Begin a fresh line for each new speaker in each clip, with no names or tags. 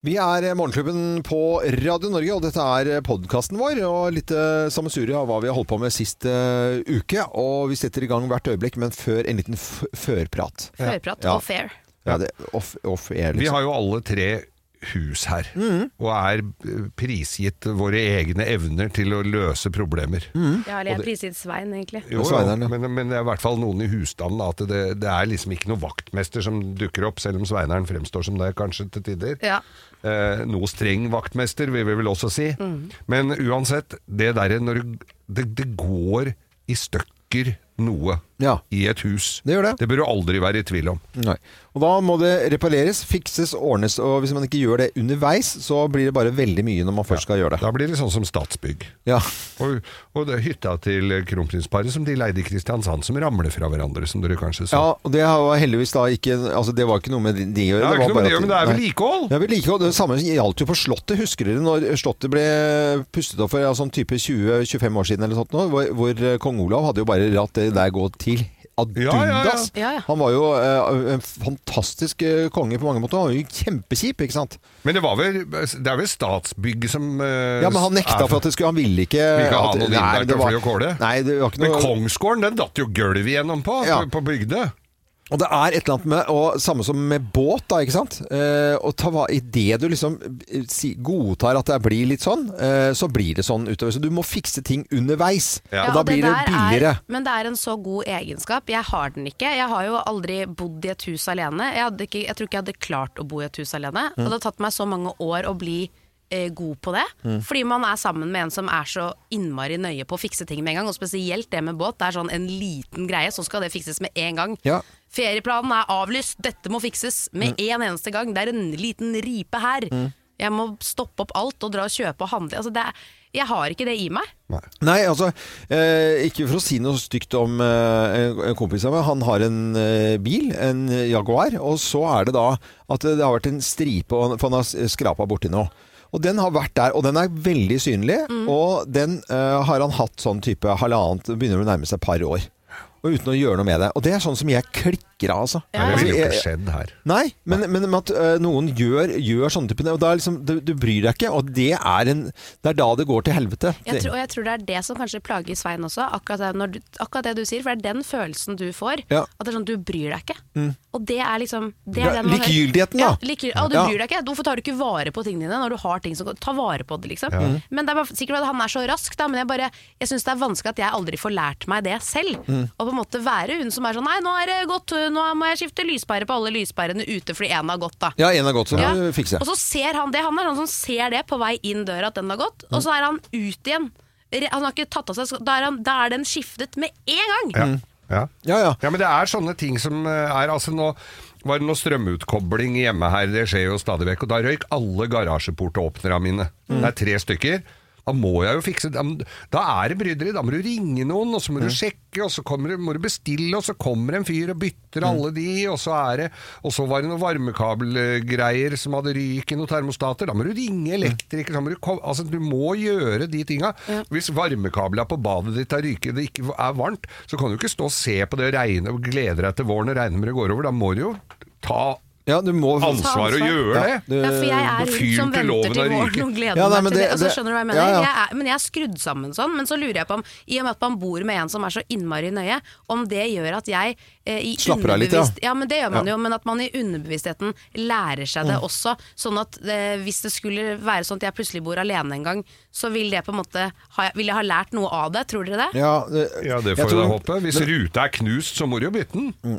Vi er Morgenklubben på Radio Norge, og dette er podkasten vår. og Litt eh, sammensurium av hva vi har holdt på med sist eh, uke. og Vi setter i gang hvert øyeblikk, men før en liten f førprat.
Førprat
Ja.
og fair.
Ja, det, off, off air,
Vi
liksom. Mm.
har jo alle tre hus her, og er eh, prisgitt våre egne evner til å løse problemer.
Mm.
Ja, eller jeg prisgitt Svein, egentlig.
Jo, jo,
Sveineren, ja.
men, men det er i hvert fall noen i husstanden at det, det er liksom ikke noen vaktmester som dukker opp, selv om Sveineren fremstår som det kanskje til tider.
Ja.
Eh, noe streng vaktmester, vil vi vel også si. Men uansett, det derre når du- det, det går i stykker noe
Ja.
i et hus.
Det gjør det.
Det bør du aldri være i tvil om.
Nei. Og Da må det repareres, fikses, ordnes. og Hvis man ikke gjør det underveis, så blir det bare veldig mye når man først skal gjøre det.
Da blir det sånn som Statsbygg.
Ja.
Og, og det er hytta til kronprinsparet som de leide i Kristiansand, som ramler fra hverandre, som dere kanskje
ja,
så.
og det var heldigvis da ikke Altså, det var ikke noe med de de å
det
gjøre.
er ikke noe med det, å gjøre, men det er
Nei.
vedlikehold!
Ja, vedlikehold. Det samme gjaldt jo på Slottet. Husker dere når Slottet ble pustet opp for ja, sånn type 20-25 år siden, eller sånt nå, hvor, hvor kong Olav hadde jo bare latt det der gå til
Ja, ja, ja.
adundas.
Ja, ja.
Han var jo eh, en fantastisk eh, konge på mange måter. Han var jo kjempekjip, ikke sant?
Men det, var vel, det er vel Statsbygg som eh,
Ja, Men han nekta
er-
for at det skulle Han ville ikke
Vil ikke ha
at-
noe inn
Nei,
der
det
til
var-
fly og kåle?
Nei, det var ikke
Men
noe
Kongsgården, den datt jo gulvet igjennom på,
Ja.
på, på bygde.
Og det er et eller annet med og Samme som med båt, da, ikke sant? Eh, og ta, va- I det du liksom eh, si, godtar at det blir litt sånn, eh, så blir det sånn utover. Så du må fikse ting underveis.
Ja.
Og da
og
blir det
der
billigere.
Er, men det er en så god egenskap. Jeg har den ikke. Jeg har jo aldri bodd i et hus alene. Jeg, hadde ikke, jeg tror ikke jeg hadde klart å bo i et hus alene.
Mm.
Og det har tatt meg så mange år å bli eh, god på det.
Mm.
Fordi man er sammen med en som er så innmari nøye på å fikse ting med en gang. Og spesielt det med båt. Det er sånn en liten greie, så skal det fikses med en gang.
Ja.
Ferieplanen er avlyst, dette må fikses med en eneste gang. Det er en liten ripe her. Jeg må stoppe opp alt og dra og kjøpe og handle. Altså det er, jeg har ikke det i meg.
Nei.
Nei, altså eh, Ikke for å si noe stygt om eh, en- en kompis av meg. Han har en eh, bil, en Jaguar, og så er det da at det har vært en stripe, og han- for han har skrapa borti noe. Og den har vært der, og den er veldig synlig.
Mm.
Og den eh, har han hatt sånn type halvannet Begynner å nærme seg et par år. Og uten å gjøre noe med det. Og det er sånn som jeg klikker av, altså.
Det
altså
ville jo
jeg-
ikke skjedd her.
Nei, men, men med at eh, noen gjør, gjør sånne typer Og da er liksom, du, du bryr deg ikke, og det er, en, det er da det går til helvete.
Jeg
Det-
tror, og jeg tror det er det som kanskje plager Svein også, akkurat det, når du, akkurat det du sier. For det er den følelsen du får.
Ja.
At det er sånn, du bryr deg ikke. Og det er liksom det
Ja,
er den man
Mm.
hører.
likegyldigheten, da.
Ja, likegyl- ja, du
Ja.
bryr deg ikke. Hvorfor tar du ikke vare på tingene dine når du har ting som går Ta vare på det, liksom. Men det er bare, sikkert at han er så rask, da, men jeg, bare- jeg syns det er vanskelig at jeg aldri får lært meg det selv.
Mm.
Og på en måte være hun som er sånn Nei, nå er det gått, nå må jeg skifte lyspære på alle lyspærene ute fordi én har gått, da.
Ja, en har gått, så må
Ja.
du fikse.
Og så ser han det. Han er sånn som ser det på vei inn døra at den har gått,
Mm.
og så er han ut igjen. Re- Han har ikke tatt av seg sko- Da er, han, da er den skiftet med en gang!
Ja. Ja.
Mm. Ja, ja.
Ja, men det er sånne ting som eh, er altså nå var det noe strømutkobling hjemme her, det skjer jo stadig vekk, og da røyk alle garasjeportåpnerne mine.
Mm.
Det er tre stykker. Da må jeg jo fikse da- Da er det bryderi. Da må du ringe noen, og så
Mm.
må du sjekke, og så kommer, du- må du bestille, og så kommer en fyr og bytter alle de, og så er det Og så var det noen varmekabelgreier som hadde ryk i noen termostater. Da må du ringe elektriker, så må du kom- Altså, du må gjøre de tinga. Hvis varmekabla på badet ditt har ryket, det ikke er varmt, så kan du ikke stå og se på det regne og glede deg til våren og regnemøret går over. Da må du jo ta
Ja, du må
ansvar og gjøre
Ja,
det.
du-
Ja, for jeg
Nå
er hun
fyrte
som venter
loven av
til
riket.
våren og gleder
Ja, nei, men
meg til det.
det-
Altså,
det-
skjønner du hva jeg mener?
Ja, ja.
Jeg er, men jeg er skrudd sammen sånn. Men så lurer jeg på om, i og med at man bor med en som er så innmari nøye, om det gjør at jeg eh, i
Slapper av litt, ja. Mm.
underbevisst- ja. men det gjør man jo, men at man i underbevisstheten lærer seg det også. Sånn at eh, hvis det skulle være sånn at jeg plutselig bor alene en gang, så vil det på en måte ha, Vil jeg ha lært noe av det? Tror dere det?
ja, det,
Ja, det
jeg
får
tror-
jeg håpe. Hvis ruta er knust, så må du jo bytte den.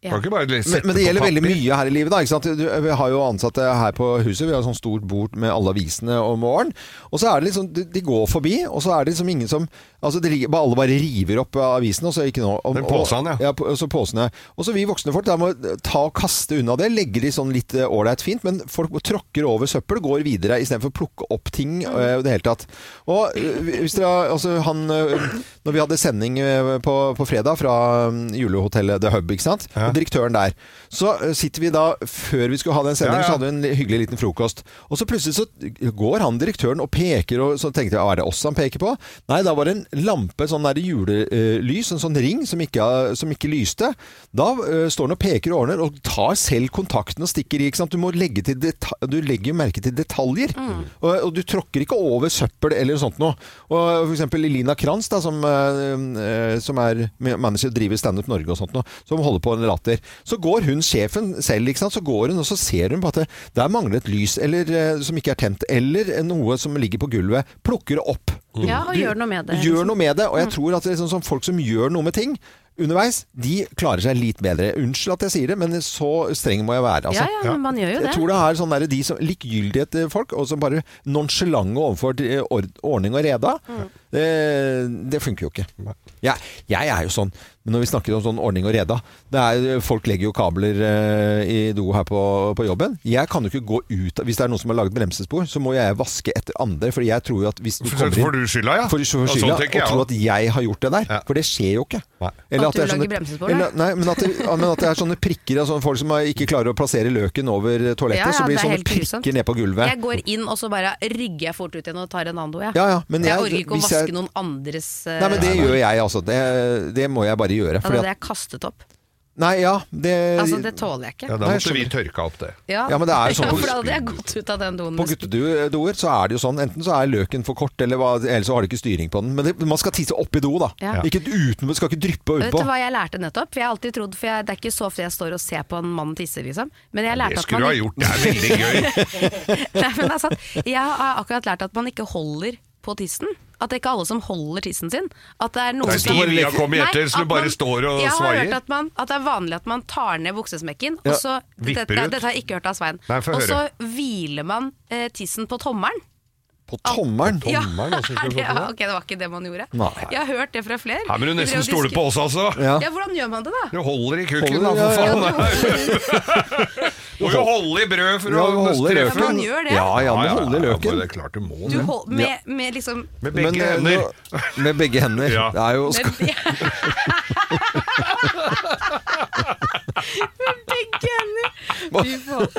Ja.
Kan ikke bare
Men,
sette
men det
på
gjelder veldig
papir.
mye her i livet, da. Ikke sant? Du, vi har jo ansatte her på huset. Vi har sånn stort bord med alle avisene om morgenen. Og så er det liksom de, de går forbi, og så er det liksom ingen som Altså, det ligger, bare- alle bare river opp avisene, og så ikke noe om-
Den posen, ja.
Og, ja, på- så posene. Og så vi voksne folk, da må ta og kaste unna det. Legge de sånn litt eh, ålreit fint, men folk tråkker over søppel, går videre istedenfor å plukke opp ting eh, i det hele tatt. Og eh, hvis dere har- Altså, han eh, Når vi hadde sending eh, på, på fredag fra eh, mm, julehotellet The Hub, ikke sant?
Ja.
og direktøren der. Så eh, sitter vi da, før vi skulle ha den sendingen,
Ja, ja.
så hadde vi en li- hyggelig liten frokost. Og så plutselig så går han direktøren og peker, og så tenkte jeg, "Hva er det oss han peker på? Nei, da var det en lampe, sånn der julelys, en sånn ring som ikke, som ikke lyste. Da eh, står han og peker og ordner, og tar selv kontakten og stikker i, ikke sant? Du må legge til deta du legger jo merke til detaljer,
Mm.
og, og du tråkker ikke over søppel eller sånt noe. Og for eksempel Lina Kranz, da, som, eh, eh, som er manager og driver Standup Norge og sånt noe, som holder på med latter. Så går hun, sjefen selv, ikke sant? så går hun og så ser hun på at det, der mangler et lys eller, eh, som ikke er tent, eller noe som ligger på gulvet. Plukker det opp.
Ja, og gjør noe med det,
Gjør
liksom.
noe med det, og jeg tror at det er sånn som folk som gjør noe med ting underveis, de klarer seg litt bedre. Unnskyld at jeg sier det, men så streng må jeg være. Altså.
Ja, ja, men man gjør jo det.
Jeg tror det er sånn der, de som likegyldighet til folk, og som bare nonsjalante overfor eh, ord- ordning og reda.
Mm.
Det, Eh, det funker jo ikke. Jeg, jeg er jo sånn, men når vi snakker om sånn ordning og reda det er, Folk legger jo kabler eh, i do her på, på jobben. Jeg kan jo ikke gå ut av- Hvis det er noen som har laget bremsespor, så må jeg vaske etter andre. For jeg tror jo at hvis du
For-
kommer inn
får du skylda, ja.
For, for
Ja, sånn
skylda,
tenker jeg
og tro
også.
at jeg har gjort det der.
Ja.
For det skjer jo ikke.
Nei.
At du lager bremsespor,
eller, nei, men at, det, ja, men at det er sånne prikker av sånne folk som er- ikke klarer å plassere løken over toalettet.
Ja, ja,
så blir
det
det
er
sånne
helt grusomt.
prikker ned på gulvet.
Jeg går inn, og så bare rygger jeg fort ut igjen og tar en annen do. Jeg,
Ja, ja, men
jeg,
jeg-
orker ikke å
hvis
vaske
jeg-
noen andres eh,
Nei, men det
ja,
gjør jeg, altså. Det, det må jeg bare gjøre.
Da
fordi
hadde
at,
jeg kastet opp.
nei, ja, det,
Altså, det tåler jeg ikke.
Eh, Ja, da
Nei,
måtte vi
jeg
tørka opp det.
Ja, men det er jo sånn-
Ja, for da hadde jeg gått ut av den doen.
på guttedoer så er det jo sånn, enten så er løken for kort, eller, hva, eller så har du ikke styring på den. Men det, man skal tisse oppi do, da.
Ja.
Ikke utenpå, det skal ikke dryppe
Vet
utpå.
du hva jeg lærte nettopp? For jeg har alltid trodd, for jeg, Det er ikke så ofte jeg står og ser på en mann tisse, liksom. Men jeg
Det
lærte at man
skulle du ha
ikke-
gjort, det er veldig gøy.
Nei, men det er sant. Jeg har akkurat lært at man ikke holder på tissen. At det ikke er alle som holder tissen sin. At det er noen
Det er de vi har kommet
Nei,
etter, så
at
du bare
man-
står og
Jeg har hørt
svaier.
at, man, at det er vanlig at man tar ned buksesmekken,
Ja,
og så
vipper
dette,
ut.
dette har jeg ikke hørt av Svein.
Nei, få
og så
høre.
hviler man eh, tissen på tommelen.
På tommelen.
Ja,
Tommelen, altså, ikke
er det,
på tommelen?
ok, det var ikke det man gjorde.
Nei.
Jeg har hørt det fra flere.
Her må du
Vi drev
nesten
og
stole
diskut-
på oss, altså.
Ja.
Ja, hvordan gjør man det, da?
Du holder i kuken, da,
Holder,
for
ja, ja.
faen. Du må jo holde i brød for
Ja,
å
du holder i
treffe.
Men man
løken.
gjør det.
Ja, ja,
Ja,
man
ja,
holder
ja,
løken.
men Det er klart du må.
Du
det.
hold, med, med liksom
Med
Men,
begge
eh,
hender.
nå- Med begge hender.
Ja.
Det er jo
med, med begge hender! Fy faen.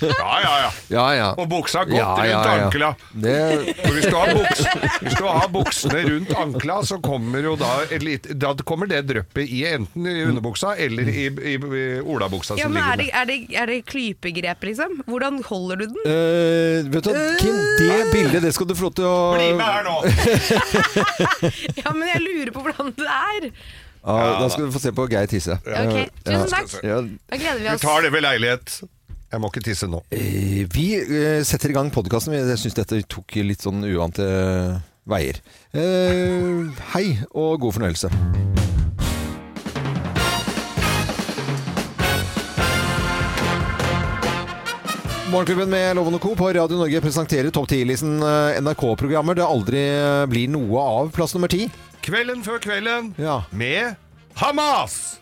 Ja, ja, ja.
Ja, ja.
Og buksa godt rundt ankla.
Det,
For hvis du, har buks, hvis du har buksene rundt ankla, så kommer jo da, et lite- da kommer det dryppet i enten i underbuksa eller i, i, i olabuksa
Ja,
som
men er
ligger
det, er, det, er det klypegrep, liksom? Hvordan holder du den?
Eh, vet du, hva, Kim, det bildet det skal du få lov til å
Bli med her nå!
Ja, men jeg lurer på hvordan det er!
Ja, Da skal du få se på Geir tisse.
Ok, tusen takk.
Eh, Ja.
Da gleder vi
Vi
oss.
tar det ved leilighet. Jeg må ikke tisse nå.
Eh, Vi eh, setter i gang podkasten. Jeg syns dette tok litt sånn uante veier. Eh, hei og god fornøyelse. Morgenklubben med Loven og Co. på Radio Norge presenterer Topp 10-listen NRK-programmer det aldri eh, blir noe av. Plass nummer ti.
Kvelden før kvelden
Ja.
med Hamas!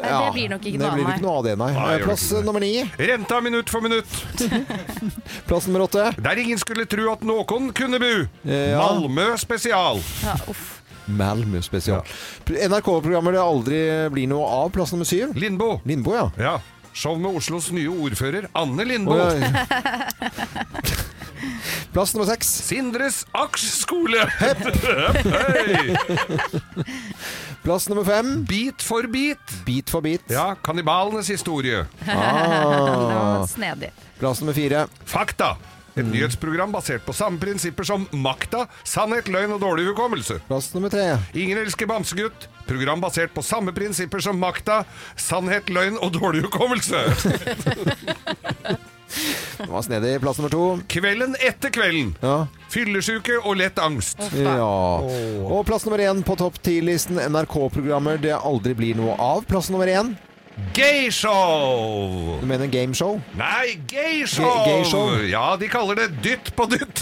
Nei, det blir nok ikke
det
noe
blir
av
ikke
meg.
noe av det, nei.
Nei, gjør
Plass
det ikke.
nummer ni.
Renta minutt for minutt.
Plass nummer åtte.
Der ingen skulle tro at noen kunne bu.
Ja.
Malmø spesial.
Ja, uff.
Malmö spesial. NRK-programmer det aldri blir noe av. Plass nummer syv.
Lindbo.
Lindbo, ja.
Ja. Show med Oslos nye ordfører, Anne Lindbo.
Oi, oi. Plass nummer seks.
Sindres aksjeskole.
Plass nummer fem.
Bit for bit.
Bit for bit. Ah.
Ja, kannibalenes historie.
Det var snedig.
Plass nummer fire. Mm.
Fakta. Et nyhetsprogram basert på samme prinsipper som makta, sannhet, løgn og dårlig hukommelse.
Plass nummer tre.
Ingen elsker bamsegutt. Program basert på samme prinsipper som makta, sannhet, løgn og dårlig hukommelse.
Det var snedig. Plass nummer to.
Kvelden etter kvelden.
Ja.
Fyllesyke og lett angst.
ja. Og plass nummer én på topp ti-listen NRK-programmer det aldri blir noe av. Plass nummer én.
Gayshow!
Du mener gameshow?
Nei,
Ge-
gayshow!
gayshow?
Ja, de kaller det dytt på dytt.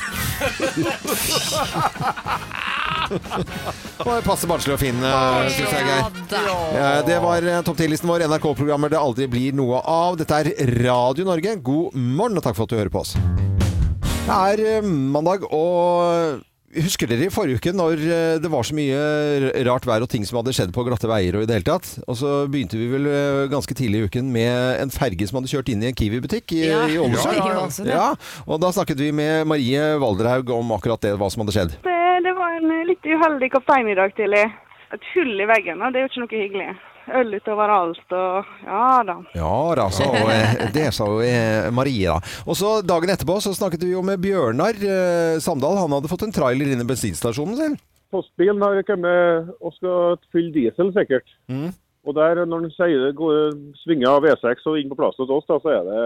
Det passer barnslig og fin, syns jeg, Geir.
da.
Ja, Det var eh, topp 10-listen vår, NRK-programmer det aldri blir noe av. Dette er Radio Norge. God morgen, og takk for at du hører på oss. Det er eh, mandag, og Husker dere i forrige uke når eh, det var så mye r- rart vær og ting som hadde skjedd på glatte veier og i det hele tatt? Og så begynte vi vel eh, ganske tidlig i uken med en ferge som hadde kjørt inn i en Kiwi-butikk i,
Ja.
i Ålesund.
Ja,
i Ålesund,
ja.
ja.
Og da snakket vi med Marie Valderhaug om akkurat det, hva som hadde skjedd.
Det, det var en eh, litt uheldig kaptein i dag tidlig. Et hull i veggen, og det er jo ikke noe hyggelig. Øl utover alt og ja da.
Ja da, sa hun, eh, det sa jo eh, Marie da. Og så dagen etterpå så snakket vi jo med Bjørnar eh, Samdal. Han hadde fått en trailer inn i bensinstasjonen sin.
postbilen har kommet og skal fylle diesel, sikkert. Og der, når den sier, går, svinger av V6 og inn på plassen hos oss, da, så er det,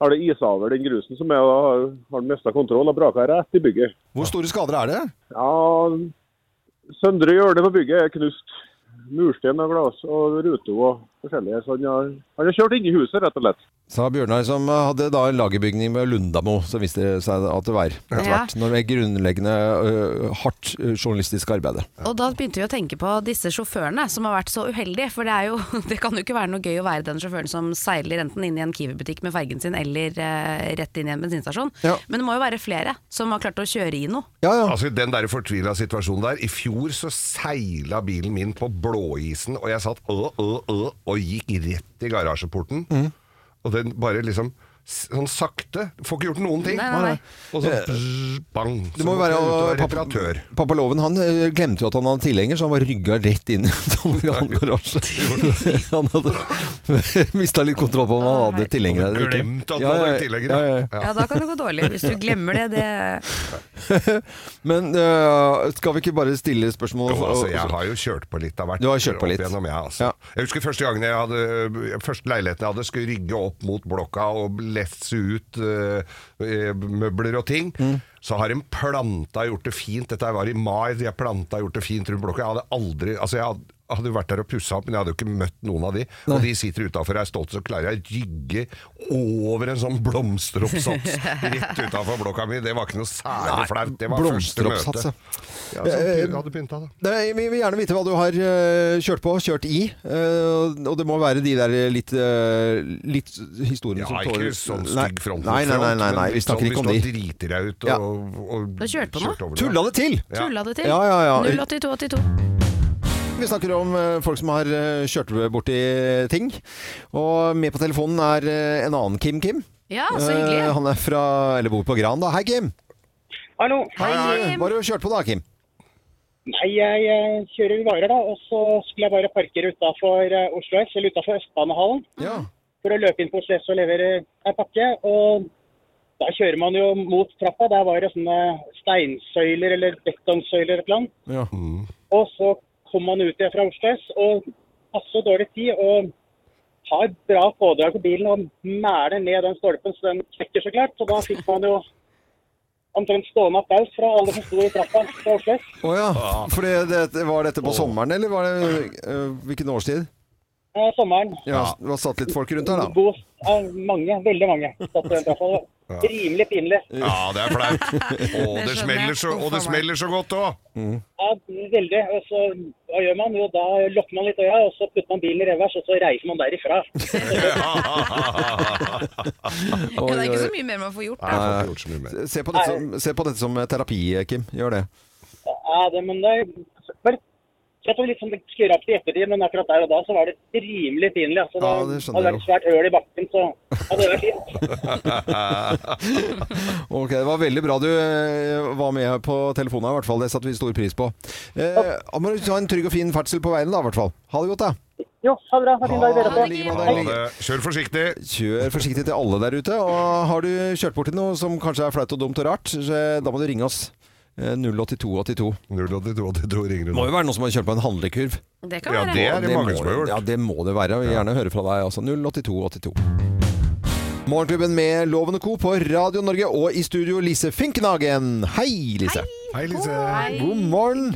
har det isaver den grusen som er, og da har, har den mista kontroll og braka rett i bygget.
Hvor store skader er det?
Ja, søndre hjørne på bygget er knust. Murstein og glass og ruter og forskjellige. Så han har, han har kjørt inn i huset, rett og slett.
Sa Bjørnar, som hadde da en lagerbygning med Lundamo, som viste det seg at det var etter
Ja.
hvert. Når det er grunnleggende ø, hardt ø, journalistisk arbeid.
Og da begynte vi å tenke på disse sjåførene som har vært så uheldige. For det, er jo, det kan jo ikke være noe gøy å være den sjåføren som seiler enten inn i en Kiwi-butikk med fergen sin, eller eh, rett inn i en bensinstasjon.
Ja.
Men det må jo være flere som har klart å kjøre i noe.
Ja, ja.
Altså, den der fortvila situasjonen der. I fjor så seila bilen min på blåisen, og jeg satt øh, øh, øh, og gikk rett i garasjeporten.
Mm.
Og den bare liksom s- Sånn sakte. Får ikke gjort noen ting.
Nei, nei, nei.
Og så bzz, bang.
Det
Så
må jo være,
måtte jeg ut og
og
være reparatør.
pappa- Pappaloven han ø, glemte jo at han hadde tilhenger, så han var rygga rett inn i en annen garasje. Han hadde mista litt kontroll på om han hadde tilhenger eller ikke.
Glemt at
Ja, ja,
man var tilhenger.
ja, ja, ja.
Ja, da kan det gå dårlig. Hvis du glemmer det, det
Men ø, skal vi ikke bare stille spørsmål?
Jo, altså, jeg har jo kjørt på litt av hvert.
Du har kjørt på
opp
litt.
Gjennom, jeg, altså.
Ja.
jeg husker første gangen jeg hadde Første leiligheten jeg hadde, skulle rygge opp mot blokka og lefse ut eh, eh, møbler og ting.
Mm.
Så har de planta gjort det fint. Dette her var i mai, de har planta gjort det fint rundt blokka. Jeg hadde aldri Altså, jeg hadde hadde jo vært der og pussa opp, men jeg hadde jo ikke møtt noen av de. Og de sitter utafor er stolte, så klarer jeg å rygge over en sånn blomsteroppsats rett utafor blokka mi. Det var ikke noe særlig flaut. Det var første
Blomsteroppsats,
møte.
ja. Eh,
Ja, så py- hadde pynta, da.
Nei, vi vil gjerne vite hva du har eh, kjørt på, kjørt i. eh, og det må være de der litt, eh, litt historiene
Ja,
som står
ikke sånn
Nei.
stygg front mot
Nei, nei, nei,
front,
nei, nei.
men
vi snakker
sånn
ikke om
Hvis
de.
du driter deg ut
Ja.
og, og,
Du har kjørt på nå?
over det.
Tulla det til!
Ja.
Tulla det til.
Ja, ja, ja.
08282.
Vi snakker om eh, folk som har eh, kjørt borti ting. Og med på telefonen er eh, en annen Kim Kim.
Ja, så
Eh,
hyggelig.
han er fra Eller bor på Gran, da. Hei, Kim!
Hallo.
Hei, Kim.
Hva har du kjørt på da, Kim?
Nei, jeg eh, kjører varer da, og så skulle jeg bare parkere utafor eh, Oslo S, eller utafor Østbanehallen,
Ja.
for å løpe inn på Oslo S og levere en pakke. Og da kjører man jo mot trappa, der var det sånne steinsøyler eller betongsøyler eller et eller annet.
ja.
Mm.
Og så kom man ut igjen fra Oslo S, og passer dårlig tid, og har bra pådrag på bilen og mæler ned den stolpen, så den knekker så klart. Så da fikk man jo omtrent stående applaus fra alle som sto i trappa fra Oslo S.
Å ja. For det, det, var dette på sommeren, eller var det eh, Hvilken årstid?
Eh, Sommeren.
Ja, Det var satt litt folk rundt her, da.
God, ja, mange, veldig mange. Satt i den trappa. Det var Rimelig pinlig.
Ja, det er flaut. Og
Det
det,
skjønner
smeller
jeg.
så, og det
Uff a meg.
smeller så godt òg!
Ja, veldig. Og så, hva gjør man? Jo, da lukker man litt øya, og så putter man bilen i revers, og så reiser man derifra.
Ja, Det er ikke så mye mer man får gjort. Da.
Se på, dette som, se på dette som eh, terapi, Kim. Gjør det.
Ja, det, men det bare, jeg tror liksom det skurrer opp til ettertid, men akkurat der og da så var det rimelig pinlig. Altså, det,
Ja, det skjønner
hadde
jeg
vært et svært høl i bakken, så hadde det vært fint.
Ok, Det var veldig bra du eh, var med på telefonen. her, i hvert fall. Det satte vi stor pris på. Eh, må du ha en trygg og fin ferdsel på veien, da, i hvert fall. Ha det godt, da.
Jo, ha det bra. Ha en fin dag, dere.
Ha
også.
det like
Ha
med deg.
det. Kjør forsiktig!
Kjør forsiktig til alle der ute. Og har du kjørt borti noe som kanskje er flaut og dumt og rart, så da må du ringe oss. Eh, 08282.
08282 ringer du
Det må
nå.
jo være noen som har kjørt på en handlekurv.
Det kan
Ja,
være.
det er det
må,
mange som har gjort.
ja, det må det være. Jeg vil gjerne høre fra deg. Altså 08282. Morgenklubben med Loven og Co. på Radio Norge, og i studio Lise Finknagen. Hei, Lise.
Hei, Lise.
God morgen.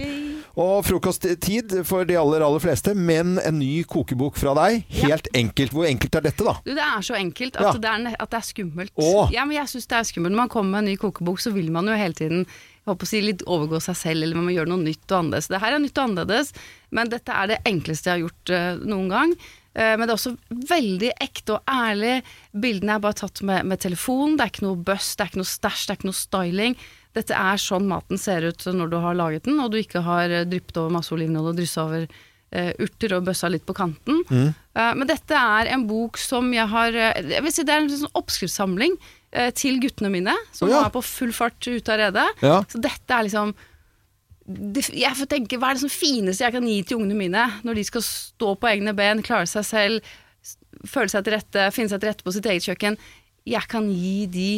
Og frokosttid for de aller, aller fleste, men en ny kokebok fra deg. Helt enkelt. Hvor enkelt er dette, da?
Du, det er så enkelt at,
Ja.
det, er, ne- at det er skummelt.
Åh.
Ja, men jeg synes det er skummelt. Når man kommer med en ny kokebok, så vil man jo hele tiden jeg håper å si, litt overgå seg selv, eller man må gjøre noe nytt og annerledes. Det her er nytt og annerledes, men dette er det enkleste jeg har gjort eh, noen gang. Eh, Men det er også veldig ekte og ærlig. Bildene er bare tatt med, med telefonen. Det er ikke noe buss, det er ikke noe stæsj, det er ikke noe styling. Dette er sånn maten ser ut når du har laget den, og du ikke har eh, dryppet over masse olivenolje og dryssa over eh, urter og bøssa litt på kanten.
Mm.
Eh, men dette er en bok som jeg har eh, Jeg vil si det er en sånn oppskriftssamling eh, til guttene mine, som
Å,
nå
ja.
er på full fart ute av redet.
Ja.
Så dette er liksom det, jeg får tenke, Hva er det som fineste jeg kan gi til ungene mine når de skal stå på egne ben, klare seg selv, s- føle seg til rette, finne seg til rette på sitt eget kjøkken? Jeg kan gi de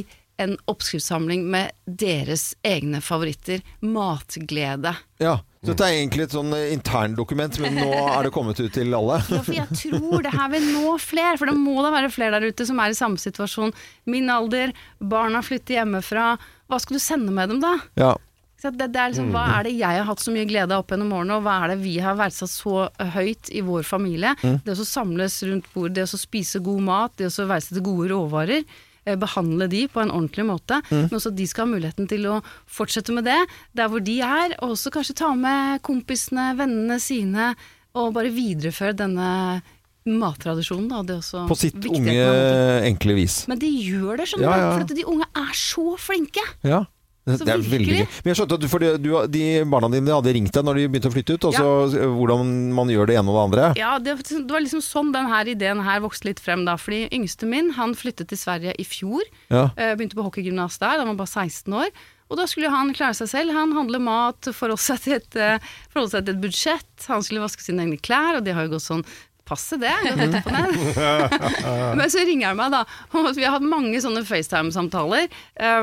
en oppskriftssamling med deres egne favoritter. Matglede.
Ja. Så dette er egentlig et sånn eh, interndokument, men nå er det kommet ut til alle.
Ja, for jeg tror det her vil nå flere, for det må da være flere der ute som er i samme situasjon. Min alder, barna flytter hjemmefra. Hva skal du sende med dem, da?
Ja.
Så det, det er liksom,
Mm.
hva er det jeg har hatt så mye glede av opp gjennom årene, og hva er det vi har verdsatt så høyt i vår familie?
Mm.
Det å så samles rundt bord, det å så spise god mat, det å så verdsette gode råvarer. eh, Behandle de på en ordentlig måte,
Mm.
men også at de skal ha muligheten til å fortsette med det der hvor de er, og også kanskje ta med kompisene, vennene sine, og bare videreføre denne mattradisjonen. Da. Det er også
På sitt
viktigheten
unge,
av det.
enkle vis.
Men de gjør det, skjønner
Ja,
du,
ja.
for at de unge er så flinke.
Ja. Det
Så
er veldig gøy.
virkelig.
Men jeg skjønte at du, fordi du, de barna dine hadde ringt deg når de begynte å flytte ut, og
Ja.
så eh, hvordan man gjør det ene og det andre.
Ja, det, det var liksom sånn den her ideen her vokste litt frem da. Fordi yngste min, han flyttet til Sverige i fjor.
Ja.
Eh, Begynte på hockeygymnas der, da han var bare 16 år. Og da skulle han klare seg selv. Han handle mat, forholde seg til et, eh, forholde seg til et budsjett. Han skulle vaske sine egne klær, og det har jo gått sånn passe det. gått litt opp og
Mhm.
ned. Men så ringer han meg, da. og Vi har hatt mange sånne FaceTime-samtaler eh,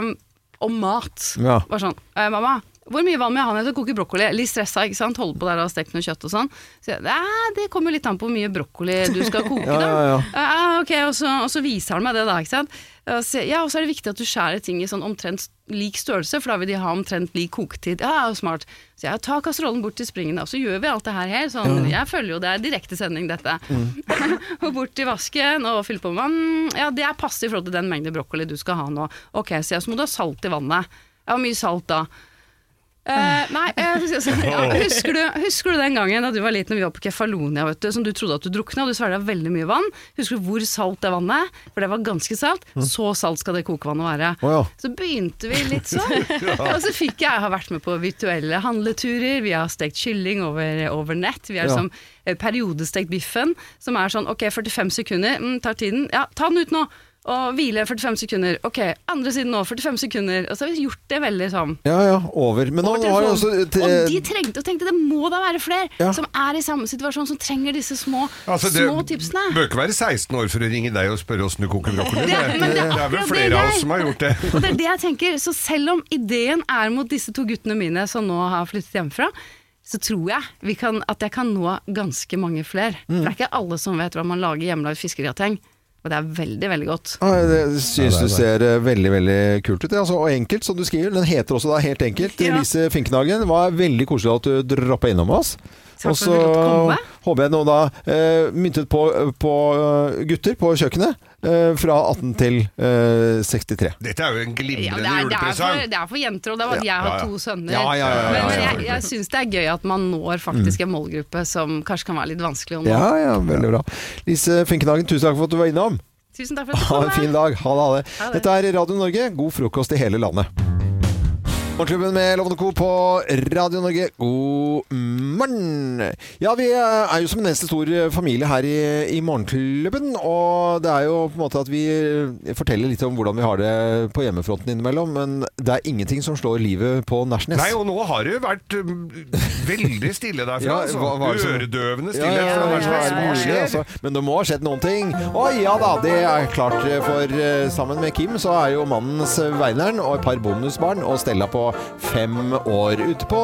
om mat.
Ja.
Bare sånn «Eh, Mamma, hvor mye vann må jeg ha når jeg skal koke brokkoli? Litt stressa, ikke sant? Holde på der og stekt noe kjøtt og sånn. Så jeg, «Nei, det kommer jo litt an på hvor mye brokkoli du skal koke, da.
ja, ja.
«Eh, ok, og så, og så viser han meg det, da. ikke sant? Og så, sier jeg, ja, og så er det viktig at du skjærer ting i sånn omtrent lik størrelse, for da vil de ha omtrent lik koketid. Ja, og smart. Så jeg tar kasserollen bort til springen, da, og så gjør vi alt det her her. Sånn, Jeg følger jo det er direktesending, dette.
Mm.
og bort til vasken og fylle på med vann. Ja, det er passe i forhold til den mengde brokkoli du skal ha nå. Ok, så, jeg, så må du ha salt i vannet. Ja, hvor mye salt da?
Ah.
Eh, nei, eh, så- så- ja, husker, du, husker du den gangen da du var liten og vi var på Kefalonia, vet du, som du trodde at du drukna, og du svelga veldig mye vann? Husker du hvor salt det vannet er? For det var ganske salt. Så salt skal det kokevannet være.
Mm. Å ja.
Så begynte vi litt sånn. Og så fikk jeg, jeg har vært med på virtuelle handleturer, vi har stekt kylling over, over nett, vi har
Ja.
liksom eh, periodestekt biffen, som er sånn ok, 45 sekunder, mm, tar tiden, ja, ta den ut nå, og hvile 45 sekunder, ok, andre siden nå, 45 sekunder, og så har vi gjort det veldig sånn.
Ja, ja, over. Men nå
over
har jo også
telefonen.
eh,
og de trengte og tenkte det må da være flere
Ja.
som er i samme situasjon, som trenger disse små,
Altså, det
små tipsene.
bør ikke være 16 år for å ringe deg og spørre åssen du koker brokkoli. Det,
men det er
er vel
akkurat det
flere av
jeg-
oss som har gjort det.
Og det er det jeg tenker. Så selv om ideen er mot disse to guttene mine som nå har flyttet hjemmefra, så tror jeg vi kan, at jeg kan nå ganske mange flere.
Mm.
For det er ikke alle som vet hva man lager hjemmelagd fiskegrateng. Og det er veldig, veldig godt.
Ja, det syns du ser eh, veldig veldig kult ut. ja, Altså, og enkelt, som du skriver. Den heter også da helt enkelt.
Ja.
Elise Finknagen, det var veldig koselig at du droppa innom oss.
Takk
Og
for
så
at du fikk komme.
håper jeg nå da eh, myntet på, på eh, gutter på kjøkkenet eh, fra 18 til eh, 63.
Dette er jo en
Ja,
glimrende
det, er, det, er for,
julepresang.
det er for jenter, og det er bare at jeg
Ja,
har
ja.
to sønner.
Ja, ja, ja, ja, ja,
Men jeg,
selvfølgelig.
jeg syns det er gøy at man når faktisk en målgruppe som kanskje kan være litt vanskelig å nå.
Ja, ja, veldig bra. Lise Finknagen, tusen takk for at du var innom.
Tusen takk for at du
Ha
kom.
en fin dag. Ha det, ha det.
Ha det.
Dette er Radio Norge. God frokost i hele landet. Morgenklubben med Lovende Co. på Radio Norge, god morgen! Ja, vi er jo som en eneste stor familie her i, i Morgenklubben. Og det er jo på en måte at vi forteller litt om hvordan vi har det på hjemmefronten innimellom. Men det er ingenting som slår livet på Nashnes.
Nei, og nå har det vært um, veldig stille derfra.
Ja,
altså.
hva- hva er det som- Ja,
Øredøvende stille.
ja, ja,
fra
ja,
Nashville.
ja,
Hva
ja,
skjer?
ja, altså. Men det må ha skjedd noen ting. Å ja da, det er klart. For eh, sammen med Kim så er jo mannens Veineren og et par bonusbarn og Stella på fem år ute på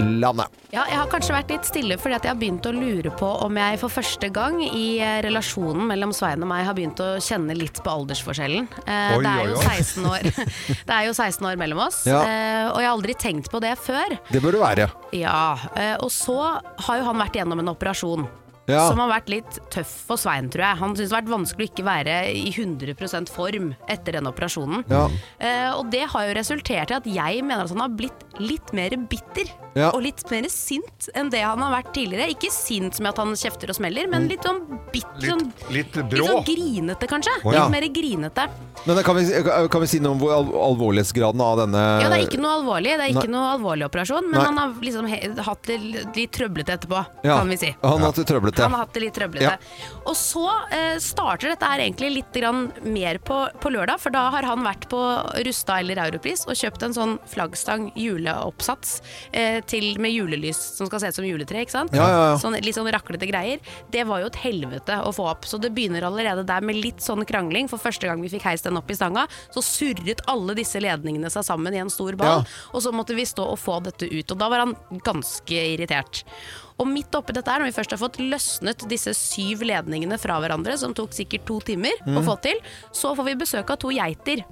landet.
Ja, jeg har kanskje vært litt stille fordi at jeg har begynt å lure på om jeg for første gang i eh, relasjonen mellom Svein og meg har begynt å kjenne litt på aldersforskjellen. Eh,
Oi,
det, er
oi,
jo
oi.
16 år. det er jo 16 år mellom oss,
Ja.
eh, og jeg har aldri tenkt på det før.
Det bør det være.
Ja, eh, Og så har jo han vært gjennom en operasjon.
Ja.
som har vært litt tøff for Svein, tror jeg. Han syns det har vært vanskelig å ikke være i 100 form etter den operasjonen.
Ja.
Eh, og det har jo resultert i at jeg mener at han har blitt litt mer bitter
Ja.
og litt mer sint enn det han har vært tidligere. Ikke sint som i at han kjefter og smeller,
Mm.
men litt sånn bitter.
Litt-
sånn-
litt
litt
brå.
sånn grinete, kanskje.
ja.
Litt mer grinete.
Men da kan vi, eh, kan vi si noe om hvor al- alvorlighetsgraden av denne
Ja, det er ikke noe alvorlig, det er ikke
Eh, Nei.
noe alvorlig operasjon, men
Nei.
han har liksom he hatt det l- litt trøblete etterpå,
Ja,
kan vi si.
Han har hatt det trøblete.
Han har hatt det litt trøblete. Og så eh, starter dette her egentlig litt grann mer på, på lørdag, for da har han vært på Rusta eller Europris og kjøpt en sånn flaggstang juleoppsats eh, til med julelys som skal se ut som juletre, ikke sant?
Ja, ja, ja.
Sånn, litt sånn raklete greier. Det var jo et helvete å få opp, så det begynner allerede der med litt sånn krangling. For første gang vi fikk heist den opp i stanga, så surret alle disse ledningene seg sammen i en stor ball,
Ja.
og så måtte vi stå og få dette ut. Og da var han ganske irritert. Og midt oppi dette her, når vi først har fått løsnet disse syv ledningene fra hverandre, som tok sikkert to timer
Mm.
å få til, så får vi besøk av to geiter.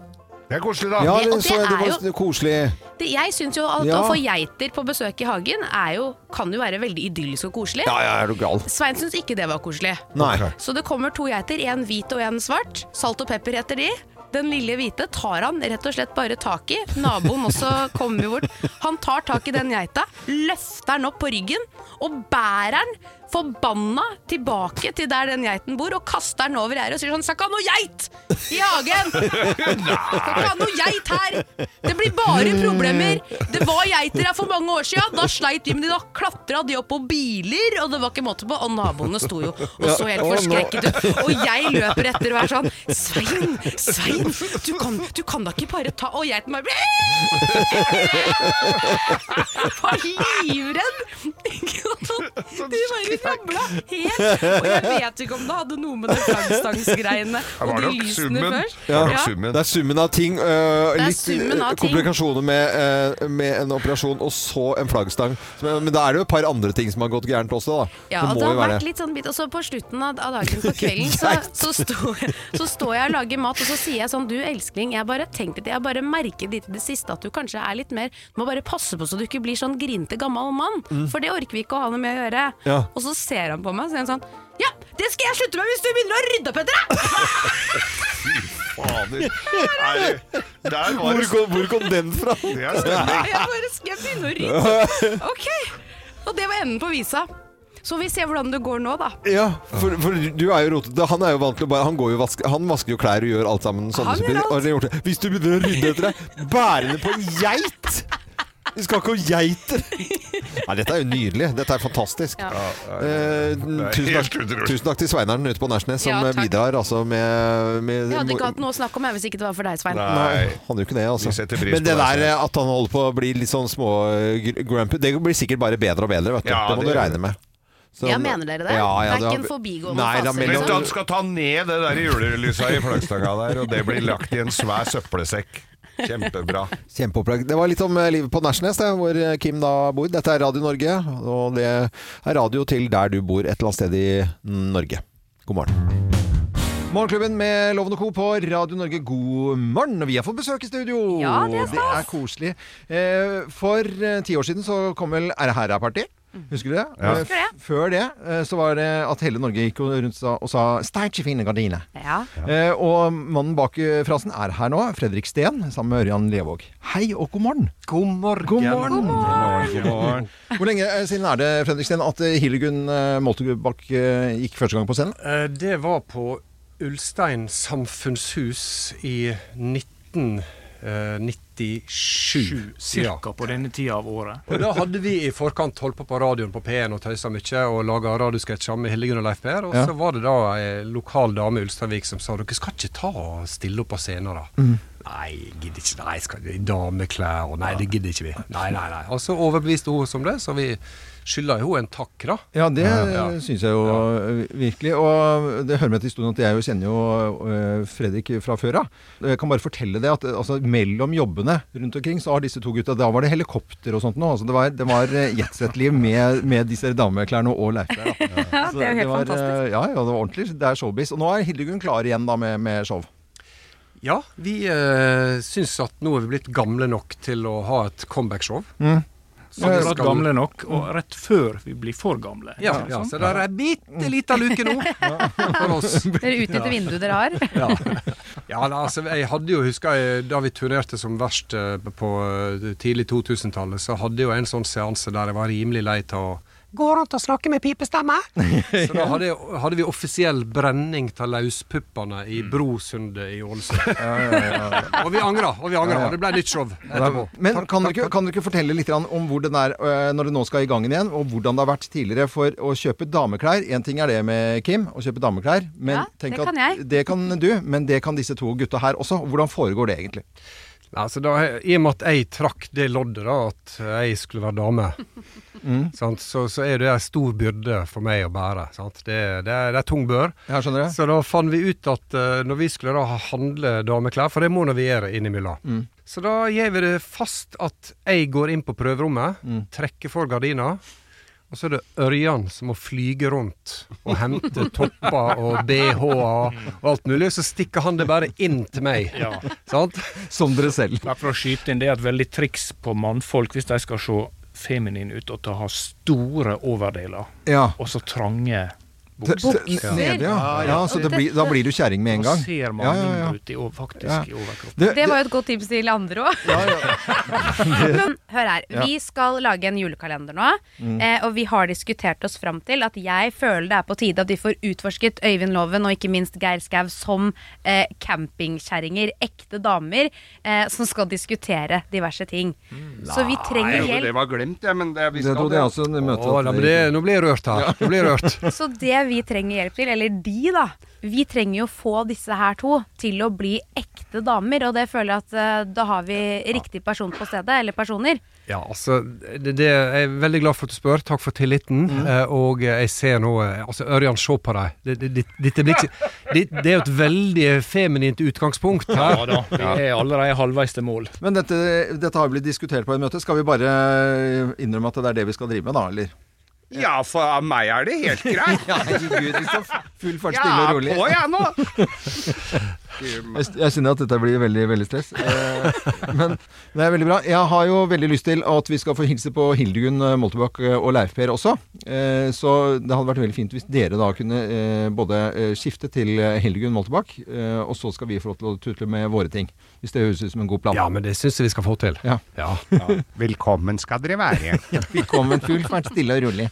Det er koselig, da.
Ja,
og
det,
det
så jeg, det
er
var koselig.
Det, jeg syns jo at
Ja.
å få geiter på besøk i hagen er jo, kan jo være veldig idyllisk og koselig.
Ja, ja, er du gal?
Svein syns ikke det var koselig.
Nei.
Så det kommer to geiter, en hvit og en svart. Salt og pepper heter de. Den lille hvite tar han rett og slett bare tak i. Naboen også kommer jo bort. Han tar tak i den geita, løfter den opp på ryggen og bærer den forbanna tilbake til der den geiten bor, og kaster den over gjerdet og sier sånn 'Skal ikke ha noe geit i hagen!' 'Skal ikke ha noe geit her! Det blir bare
Mm.
problemer!' 'Det var geiter her for mange år siden, da sleit vi med de, da klatra de opp på biler', og det var ikke måte på, og naboene sto jo og så
Ja,
helt
og nå-
forskrekket ut. Og jeg løper etter og er sånn Svein, Svein, du kan, du kan da ikke bare ta Og geiten bare Var livredd! Ikke sant? De bare rabla helt. Og jeg vet ikke om det hadde noe med de flaggstangsgreiene
Det
og
var
de
nok
lysene
summen.
først.
Det var nok
Ja.
summen.
Det er summen av ting. øh,
er
litt
summen av
øh,
ting.
komplikasjoner med, øh, med en operasjon, og så en flaggstang. Så, Men men da er det jo et par andre ting som har gått gærent også, da.
Ja,
det
og
må
det
jo
har
være
vært
det.
litt sånn bit, og så på slutten av, av dagen på kvelden så, så, står, så står jeg og lager mat, og så sier jeg sånn Du elskling, jeg har bare tenkt litt, jeg har bare merket litt i det siste at du kanskje er litt mer Du må bare passe på så du ikke blir sånn grinete gammel mann, for det orker vi ikke å ha noe med å gjøre.
Mm. Ja.
Og så ser han på meg og sier han sånn Ja, det skal jeg slutte med hvis du begynner å rydde opp etter deg!
Fader. Er det- Der var
Hvor
det
kom, hvor kom den fra?
Det er stemning.
Og jeg bare Skal jeg begynne å rydde opp? Ok. Og det var enden på visa. Så vi ser hvordan det går nå, da.
Ja, for, for du er jo rotete. Han er jo vant til å bare Han, går jo vaske, han vasker jo klær og gjør alt sammen. Sånne
Han
som
gjør
blir-
alt.
og han har gjort det. Hvis du begynner å rydde etter deg bærende på en geit! Vi skal ikke ha geiter! Nei, dette er jo nydelig. Dette er fantastisk. Eh,
er
tusen,
helt
takk,
utrolig.
tusen takk til Sveineren ute på Nærsnes, som
Ja,
eh,
takk.
bidrar altså med, med
Jeg hadde ikke hatt noe å snakke om jeg, hvis ikke det var for deg, Svein.
Nei,
Nei.
han gjør ikke det, altså.
Vi setter pris
Men
på
det
deg,
der eh, at han holder på å bli litt sånn små-grumpy, det blir sikkert bare bedre og bedre, vet du.
Ja,
det må
det
du
gjør
regne med. Så-
Ja, mener dere det? Det er ikke en forbigående
eh, Nei, det er
fase, liksom?
mellom-
Vent, han skal ta ned det der julelysa i flaggstanga der, og det blir lagt i en svær søppelsekk. Kjempebra.
Kjempeopplag. Det var litt om eh, livet på Nærsnes, det, hvor eh, Kim da bor. Dette er Radio Norge, og det er radio til der du bor et eller annet sted i Norge. God morgen. Morgenklubben med Loven og Co. på Radio Norge, god morgen. Og Vi har fått besøk i studio.
Ja, det er stas.
koselig. Eh, For eh, ti år siden så kom vel Er det her er party? Husker du det? Eh,
Husker det.
f- Før det eh, så var det at hele Norge gikk rundt sa- og sa 'Steitje fine gardiner'.
Ja.
Eh, og mannen bak eh, frasen er her nå, Fredrik Steen, sammen med Ørjan Levåg. Hei og god morgen.
God morgen.
God morgen.
Mm.
God morgen.
Hvor lenge eh, siden er det Fredrik Steen, at eh, Hildegunn eh, Moltebakk eh, gikk første gang på scenen?
Eh, Det var på Ulstein samfunnshus i eh, 1997.
Cirka på denne tida av året.
Og da hadde vi i forkant holdt på på radioen på P1 og tøysa mye og laga radiosketsjer med Hildegunn og Leif Per. Og
Ja.
så var det da ei lokal dame i Ulsteinvik som sa dere skal ikke ta og stille opp på scenen, da. Nei, jeg gidder ikke. Nei, skal i dameklær og Nei, det gidder ikke vi. Nei, nei, nei. Og så overbeviste hun oss om det, så vi skylder jo henne en takk, da.
Ja, det
Ja.
eh, syns jeg jo eh, virkelig. Og det hører med til historien at jeg jo kjenner jo eh, Fredrik fra før av. Jeg kan bare fortelle det at eh, altså, mellom jobbene rundt omkring så har disse to gutta Da var det helikopter og sånt nå. Altså, det var, det var eh, jetset-liv med, med disse dameklærne og leirklær. Ja,
det er jo helt fantastisk.
eh, Ja, ja, det var ordentlig. Det er showbiz. Og nå er Hildegunn klar igjen da med, med show.
Ja,
Mm.
vi eh, syns at nå er vi blitt gamle nok til å ha et comeback-show.
Vi er Akkurat gamle nok, og rett før vi blir for gamle.
Ja,
Sånn.
Ikke
ja,
sant?
så det er ei
Mm.
bitte lita luke nå for oss.
Dere utnytter vinduet dere har.
Ja. ja, nei, altså jeg hadde jo, husker jeg, da vi turnerte som verst eh, på eh, tidlig 2000-tallet, så hadde jeg jo en sånn seanse der jeg var rimelig lei av å Går an å snakke med pipestemme? Så da hadde, jeg- hadde vi offisiell brenning av lauspuppene i
Mm.
Brosundet i Ålesund. Og vi angra, og vi angra.
Ja, ja.
og Det ble nytt show etterpå.
Men kan dere, ikke- kan dere ikke fortelle litt grann om hvor den er øh, når det nå skal i gangen igjen, og hvordan det har vært tidligere for å kjøpe dameklær? Én ting er det med Kim, å kjøpe dameklær. Men
Ja,
tenk
det
at
kan jeg.
det kan du, men det kan disse to gutta her også. Hvordan foregår det egentlig?
Nei, altså da, I og med at jeg trakk det loddet, da, at jeg skulle være dame,
Mm.
sant? Så, så er det en stor byrde for meg å bære. Sant? Det, det, er, det er tung bør.
Ja, skjønner jeg.
Så da fant vi ut at eh, når vi skulle da handle dameklær, for det må nå vi gjøre innimellom,
Mm.
så da gjør vi det fast at jeg går inn på prøverommet,
Mm.
trekker for gardina, og så er det Ørjan som må flyge rundt og hente topper og BH-er og alt mulig, og så stikker han det bare inn til meg.
Ja.
Sant?
Som dere selv.
Bare for å skyte inn, det er et veldig triks på mannfolk hvis de skal se feminine ut og ta ha store overdeler
Ja.
og så trange bukser.
Bukser. Nede, ja. ja så det blir, da blir du kjerring med en
Da
gang.
ser man
Ja, ja, ja.
mindre ut i, over- faktisk
Ja.
i overkroppen.
Det,
Det var jo et godt tips til andre òg. Men hør her, vi skal lage en julekalender nå. eh, Og vi har diskutert oss fram til at jeg føler det er på tide at vi får utforsket Øyvind Loven og ikke minst Geir Skau som eh, campingkjerringer. Ekte damer eh, som skal diskutere diverse ting. Så vi trenger
Nei, det
hjelp.
var glemt, jeg, men det, vi
det
skal
trodde jeg også det møtet
Å,
at
da, men
det-
det, nå blir jeg rørt her. Nå blir jeg rørt.
Så det vi trenger hjelp til, eller de, da Vi trenger jo få disse her to til å bli ekte damer. Og det føler jeg at eh, da har vi riktig person på stedet, eller personer.
Ja, altså, det, det, jeg er veldig glad for at du spør. Takk for tilliten.
Mm.
Eh, og jeg ser nå eh, Altså, Ørjan, se på deg. Det, det, det, dette blir ikke, det, det er jo et veldig feminint utgangspunkt her.
Ja da, vi er allerede halvveis til mål.
Men dette, dette har jo blitt diskutert på et møte. Skal vi bare eh, innrømme at det er det vi skal drive med, da? Eller?
Ja, for meg er det helt greit.
Ja, herregud, vi skal full fart
Jeg
stille og
er
rolig.
på, jeg nå.
Jeg, jeg kjenner at dette blir veldig veldig stress. Eh, Men det er veldig bra. Jeg har jo veldig lyst til at vi skal få hilse på Hildegunn eh, Moltebakk eh, og Leif Per også. Eh, Så det hadde vært veldig fint hvis dere da kunne eh, både eh, skifte til eh, Hildegunn Moltebakk, eh, og så skal vi få lov til å tutle med våre ting. Hvis det høres ut som en god plan.
Ja, men det syns jeg vi skal få til.
Ja.
Ja.
Velkommen skal dere være.
Velkommen full fart, stille og rolig.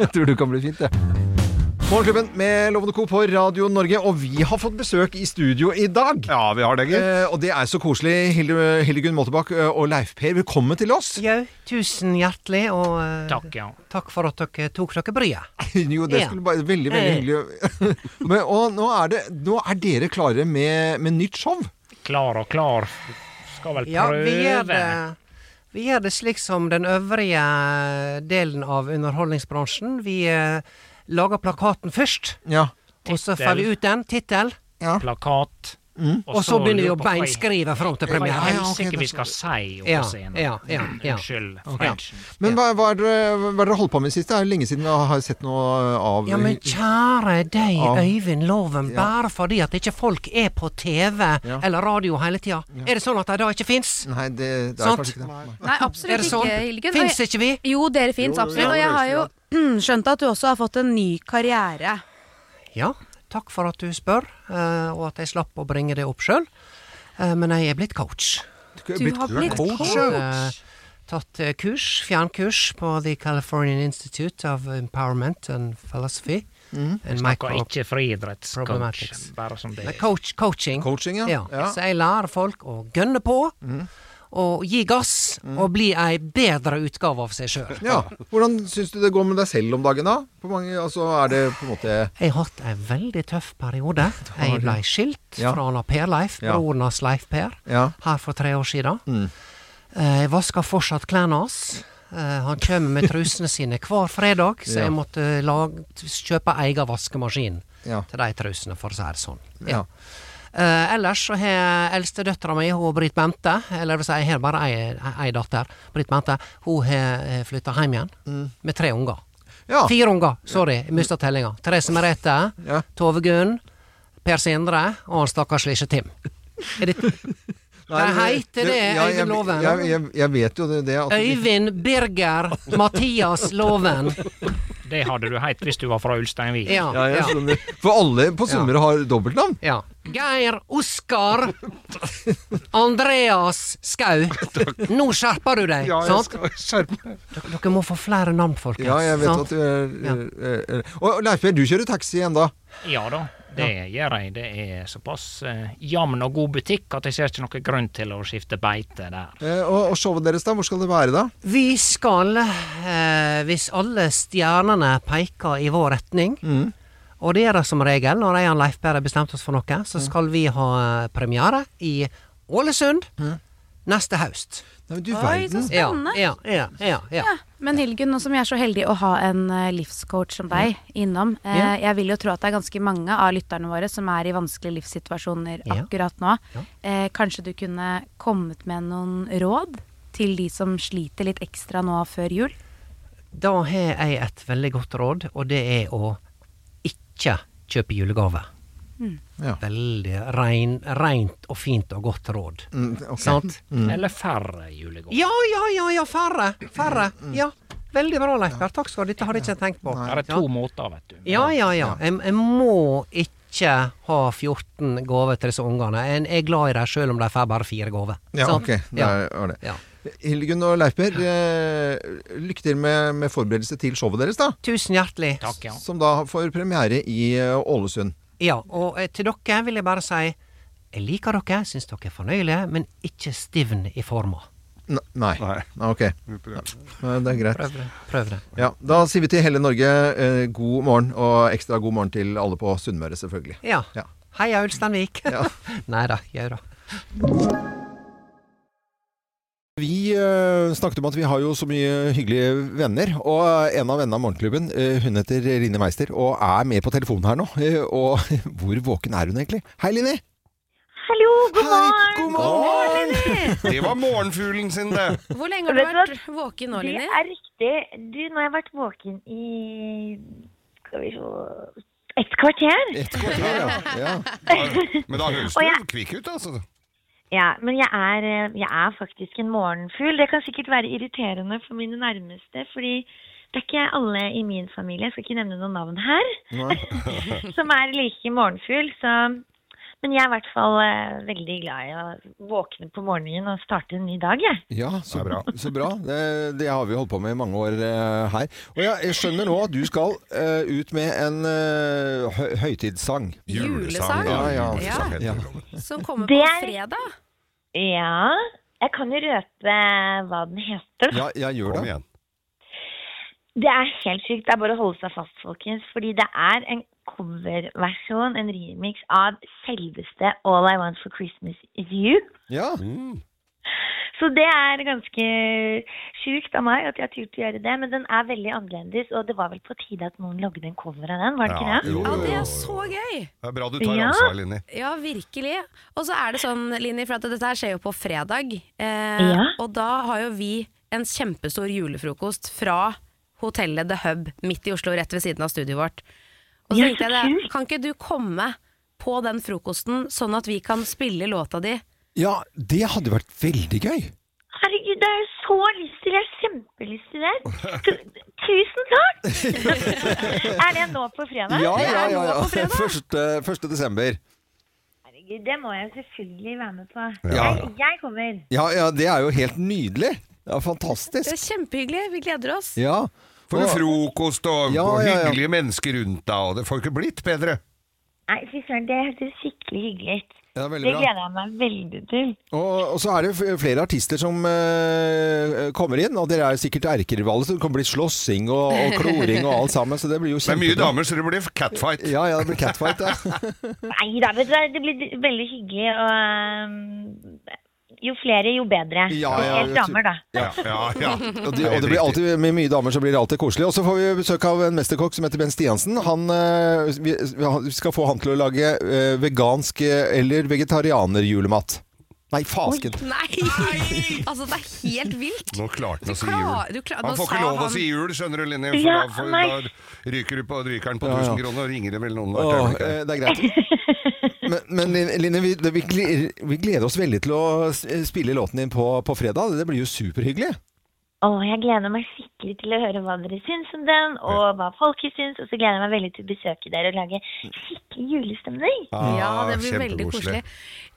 Jeg tror det kan bli fint, det. Morgenklubben med Lovende Co på Radio Norge, og vi har fått besøk i studio i dag.
Ja, vi har det, gitt.
Eh, og det er så koselig. Hilde- Hildegunn Moltebakk eh, og Leif Per, velkommen til oss.
Jau, tusen hjertelig, og eh,
Takk, ja.
takk for at dere tok dere bryet.
Jo, det
Ja.
skulle bare Veldig, veldig
Eh.
hyggelig. Men, og nå er, det, nå er dere klare med, med nytt show.
Klar og klar. Skal vel
Ja, vi gjør
prøve.
det, vi gjør det slik som den øvrige delen av underholdningsbransjen. Vi eh, lager plakaten først,
Ja.
og så
Tittel.
får vi ut den, tittel,
Plakat.
Mm. og så begynner vi å
lurer på hva i-
beinskrive fram til
Hva i
premieren.
helsike vi skal si oppe
Ja,
på scenen?
ja, ja, ja.
Unnskyld Frenchen.
Men hva, hva, er dere, hva er dere holdt på med sist? Det er jo lenge siden jeg har sett noe av
Ja, men kjære deg,
Ja.
Øyvind Loven,
Ja.
bare fordi at ikke folk er på TV
Ja.
eller radio hele tida, er det sånn at de da ikke fins?
Nei, det, det er
Sant.
kanskje ikke det. Nei.
Nei, absolutt
Er det sånn?
ikke, Hildegunn. Og
Fins
jeg-
ikke vi?
Jo, dere fins, absolutt. Og jeg har jo skjønt at du også har fått en ny karriere.
Ja, takk for at du spør, eh, og at jeg slapp å bringe det opp sjøl. Men jeg er blitt coach.
Du
Du har blitt coach.
Eh, Tatt eh, kurs, fjernkurs, på The Californian Institute of Empowerment and Philosophy.
Mm.
And
Snakker
micro-
ikke friidrettscoach,
Problematics.
bare som det
Nei,
er.
coach, coaching.
Coaching, ja.
ja.
Ja. Mm.
Så jeg lærer folk å gønne på, og gi gass, og bli ei bedre utgave av seg sjøl.
Ja. Hvordan syns du det går med deg selv om dagen, da? På mange, altså, er det på en måte
Jeg har hatt en veldig tøff periode. Jeg blei skilt
Ja.
fra han Per-Leif,
Ja.
broren hans Leif Per,
Ja.
her for tre år siden.
Mm.
Eh, Jeg vasker fortsatt klærne hans. Eh, Han kommer med trusene sine hver fredag, så
Ja.
jeg måtte lag, kjøpe egen vaskemaskin
Ja.
til de trusene, for å si det sånn.
ja.
Eh, ellers så har eldstedøtra mi, hun Britt Bente, eller det vil si, jeg har bare ei, ei datter, Britt Bente, hun har flytta hjem igjen med tre unger.
Mm. ja.
Fire unger, sorry, jeg mista tellinga. Therese Merete,
Ja.
Tove Gunn, Per Sindre og han stakkars lille Tim. Er det, Hva heter det,
ja, jeg-
Øyvind Loven?
Jeg, jeg, jeg vet jo det, det at
Øyvind Birger Mathias Loven.
Det hadde du hett hvis du var fra Ulsteinvik.
Ja,
ja, jeg
ja.
skjønner. For alle på Sunnmøre har dobbeltnavn.
Ja. Geir Oskar Andreas Skau. Nå skjerper du deg,
Ja, jeg
sant?
skal skjerpe meg.
Dere, dere må få flere navn, folkens.
Ja, jeg vet
sant?
at du er, er, er. Og Leif Per, du kjører taxi igjen da?
Ja da, det gjør jeg. Det er såpass eh, jamn og god butikk at jeg ser ikke noen grunn til å skifte beite der.
Eh, Og, og showet deres, da? Hvor skal det være da?
Vi skal, eh, hvis alle stjernene peker i vår retning,
Mm.
og det gjør det som regel når jeg og Leif Berre bestemte oss for noe,
Mm.
så skal vi ha eh, premiere i Ålesund neste høst.
Mm. Nei, men du
Oi, så
verden.
Ja,
spennende.
ja, ja, ja, ja.
Ja, Men Hilgun, nå som jeg er så heldig å ha en eh, livscoach som deg innom, eh, jeg vil jo tro at det er ganske mange av lytterne våre som er i vanskelige livssituasjoner
Ja.
akkurat nå.
Ja.
Eh, kanskje du kunne kommet med noen råd til de som sliter litt ekstra nå før jul?
Da har jeg et veldig godt råd, og det er å ikke kjøpe julegave.
Ja.
Veldig rein, rent og fint og godt råd.
Mm, ok.
Sant?
Eller færre julegaver.
Ja, ja, ja, ja, færre. Færre. Ja. Veldig bra, Leif Berr. Takk skal du ha. Dette hadde jeg ikke tenkt på.
Det er to måter, vet du.
Ja, ja, ja. Jeg, jeg må ikke ha 14 gaver til disse ungene. Jeg jeg er glad i dem sjøl om de får bare fire gaver.
Ja,
Sant?
ok. Det
Ja.
er, var det.
Ja.
Hildegunn og Leif Per, eh, lykke til med, med forberedelse til showet deres, da.
Tusen hjertelig.
Takk, ja.
Som da får premiere i eh, Ålesund.
Ja, og eh, til dere vil jeg bare si jeg liker dere, syns dere er fornøyelige, men ikke stivn i forma.
N nei.
Nei.
Ah, Ok. Nei, Det er greit.
Prøv det.
Ja, da sier vi til hele Norge eh, god morgen, og ekstra god morgen til alle på Sunnmøre, selvfølgelig.
Ja.
Ja.
Heia Ulsteinvik.
Ja.
Nei da, jau da.
Vi eh, snakket om at vi har jo så mye hyggelige venner, og en av vennene av Morgenklubben, eh, hun heter Line Meister, og er med på telefonen her nå. Eh, og hvor våken er hun egentlig? Hei, Line!
Hallo, god
Hei, god
morgen!
morgen!
Det var morgenfuglen sin, det.
Hvor lenge har du
Vet du
vært våken nå,
Det
Linni?
er riktig. Du, nå har jeg vært våken i Skal vi se Et kvarter.
Et kvarter, ja. ja.
Men da høres
Og
du
jeg-
kvikk ut, altså.
Ja, men jeg er, eh, jeg er faktisk en morgenfugl. Det kan sikkert være irriterende for mine nærmeste, fordi det er ikke alle i min familie, jeg skal ikke nevne noen navn her,
eh,
Nei.
som er like morgenfugl. Så. Men jeg er i hvert fall eh, veldig glad i å våkne på morgenen og starte en ny dag, jeg.
Ja, så bra. Så bra. Det, det har vi holdt på med i mange år eh, her. Og ja, jeg skjønner nå at du skal eh, ut med en eh, hø høytidssang.
Julesang?
Ja, ja.
Ja.
julesang heter det.
Som kommer
Det
på
er-
fredag?
Ja, jeg kan jo røpe hva den heter. da.
Ja, jeg gjør
Kom
det.
igjen.
Det er helt sykt. Det er bare å holde seg fast, folkens. Fordi det er en coverversjon, en remix, av selveste All I Want for Christmas Is You.
Ja.
Mm.
Så det er ganske sjukt av meg at jeg har turt å gjøre det. Men den er veldig annerledes, og det var vel på tide at noen lagde en cover av den, var det
Ja,
ikke det?
jo,
Ja,
jo,
det
jo.
er så gøy!
Det er bra du tar
Ja.
ansvar, Linni.
Ja, virkelig. Og så er det sånn, Linni, for at dette her skjer jo på fredag. Eh,
Ja.
Og da har jo vi en kjempestor julefrokost fra hotellet The Hub midt i Oslo, rett ved siden av studioet vårt. Og så
Ja,
tenkte
så
jeg det,
kult.
kan ikke du komme på den frokosten, sånn at vi kan spille låta di?
ja, det hadde vært veldig gøy.
Herregud, det har jeg så lyst til. Jeg har kjempelyst til det. Tu- Tusen takk! er det nå på fredag?
Ja, ja, ja.
nå på fredag.
Første, første desember.
Herregud, det må jeg selvfølgelig være med på.
Ja.
Jeg, jeg kommer.
Ja, ja, det er jo helt nydelig. Ja, fantastisk.
Det er kjempehyggelig, vi gleder oss.
Ja.
For
Og-
en frokost og,
Ja,
og
ja, ja.
hyggelige mennesker rundt deg, og det får ikke blitt bedre.
Nei, fy søren, det hørtes skikkelig hyggelig ut.
Ja,
Det
veldig bra.
gleder jeg meg veldig til.
Og, og så er det f- flere artister som eh, kommer inn, og dere er sikkert erkerivaler, så det kan bli slåssing og, og kloring og alt sammen. Så det blir jo
Det er mye
kjempebra.
damer, så det blir catfight.
Ja, ja, det blir catfight, ja.
Nei da, vet du hva, det blir veldig hyggelig, og um, jo flere, jo bedre.
Ja, ja,
Helt
ja,
damer, da.
Ja, ja, ja.
Og det, og det blir alltid, med mye damer så blir det alltid koselig. Og så får vi besøk av en mesterkokk som heter Ben Stiansen. Han, eh, vi, vi skal få han til å lage eh, vegansk eh, eller vegetarianerjulemat. Nei, fasken!
Nei! altså, det er helt vilt.
Nå klarte han å si
klar-
jul.
du klar-
Han
nå
får
sa
ikke lov å
han-
si jul, skjønner du, Linni. For
Ja,
da, får-
nei.
da ryker du på rykeren på
Ja, ja.
1000 kroner, og ringer det vel noen.
Åh,
der, tror jeg.
eh, det er greit. Men, men Line, vi, vi, gl- vi gleder oss veldig til å s- eh, spille låten din på, på fredag. Det blir jo superhyggelig.
Å, jeg gleder meg skikkelig til å høre hva dere syns om den, og hva folket syns. Og så gleder jeg meg veldig til å besøke dere og lage skikkelig julestemning.
Ah,
Ja, det blir veldig koselig.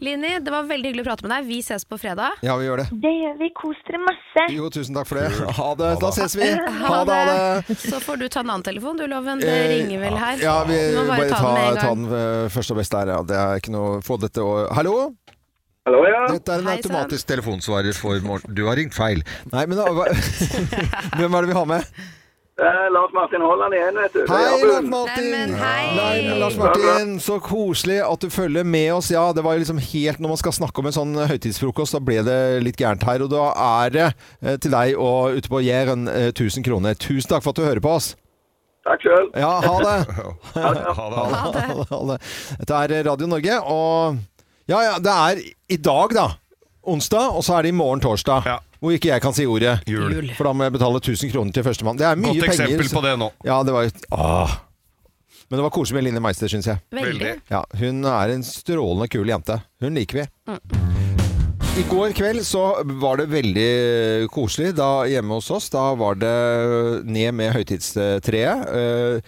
Linni, det var veldig hyggelig å prate med deg. Vi ses på fredag.
Ja, vi gjør det.
Det gjør vi. Kos dere masse.
Jo, tusen takk for det. Ha det. Da ses vi. Ha det. Ha det.
Så får du ta en annen telefon, du Loven. Det
Eh,
ringer vel her.
Ja, vi
du må
bare ta,
den med en
ta
gang.
den eh, først og best der. Ja. Det er ikke noe Få dette og Hallo?
Hallo, ja.
Dette er en
Hei, sann.
automatisk telefonsvarer for Morten. Du har ringt feil. Nei, men da, hva, Hvem er det vi har med?
Eh, Lars Martin Holland igjen, vet du.
Hei,
Det er
Lars
Jabun.
Martin!
Neimen, hei.
Nei, Lars Martin, så koselig at du følger med oss. Ja, det var jo liksom helt Når man skal snakke om en sånn høytidsfrokost, da ble det litt gærent her. Og da er det eh, til deg og ute på Jæren eh, 1000 kroner. Tusen takk for at du hører på oss.
Takk sjøl.
Ja, ha det!
Ha det.
Ha det, ha det. Dette er Radio Norge, og Ja, ja, det er i dag, da. Onsdag, og så er det i morgen torsdag.
Ja.
Hvor ikke jeg kan si ordet.
Jul. Jul.
For da må jeg betale 1000 kroner til førstemann. Det er mye
Godt
penger.
eksempel
så-
på det nå.
Ja, det var jo Åh. Men det var koselig med Line Meister, syns jeg.
Veldig.
Ja, hun er en strålende kul jente. Hun liker vi.
Mm.
I går kveld så var det veldig koselig da, hjemme hos oss. Da var det ned med høytidstreet.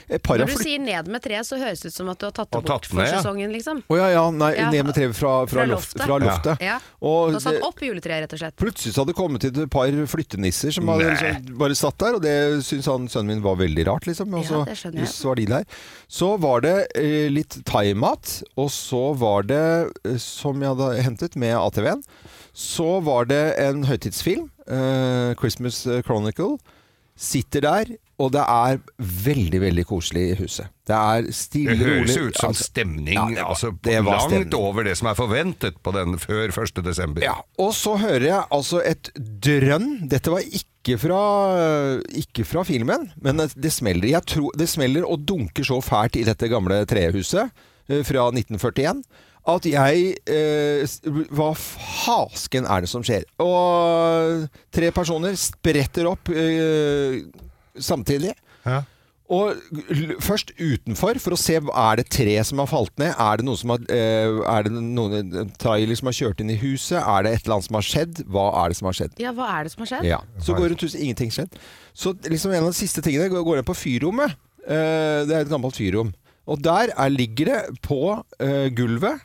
Eh, Et par har
Når du
flyttet-
sier 'ned med treet', så høres det ut som at du har tatt det
Og
bort
tatt
for
ned, ja.
sesongen, liksom.
Å ja, ja. Nei,
Ja.
ned med treet fra, fra,
Fra
loft,
loftet.
fra loftet.
Ja.
Og
Du har satt
det-
opp juletreet, rett og slett.
plutselig så hadde det kommet til et par flyttenisser som hadde liksom bare satt der, og det syntes han sønnen min var veldig rart, liksom. Og
Ja,
så
det skjønner jeg.
jøss, var de der. Så var det eh, litt thaimat, og så var det, eh, som jeg hadde hentet med ATV-en, så var det en høytidsfilm, eh, 'Christmas Chronicle'. Sitter der, og det er veldig, veldig koselig i huset. Det er stille
Det
og rolig.
høres jo ut som
Altså,
stemning,
ja, det var-
altså
det var
langt
stemning.
over det som er forventet på den før 1. desember.
Ja, og så hører jeg altså et drønn. Dette var ikke fra, ikke fra filmen, men det, det smeller. Jeg tror, det smeller og dunker så fælt i dette gamle trehuset eh, fra 1941 at jeg eh, s- Hva fasken er det som skjer? Og tre personer spretter opp eh, samtidig.
Ja.
Og l- først utenfor, for å se er det tre som har falt ned. Er det noen som har, eh, er det noen en trailer som har kjørt inn i huset? Er det et eller annet som har skjedd? Hva er det som har skjedd?
Ja, hva er det som har skjedd?
Ja. Så går rundt huset, ingenting skjedd. Så liksom en av de siste tingene går- går inn på fyrrommet. Eh, det er et gammelt fyrrom. Og der er, ligger det på eh, gulvet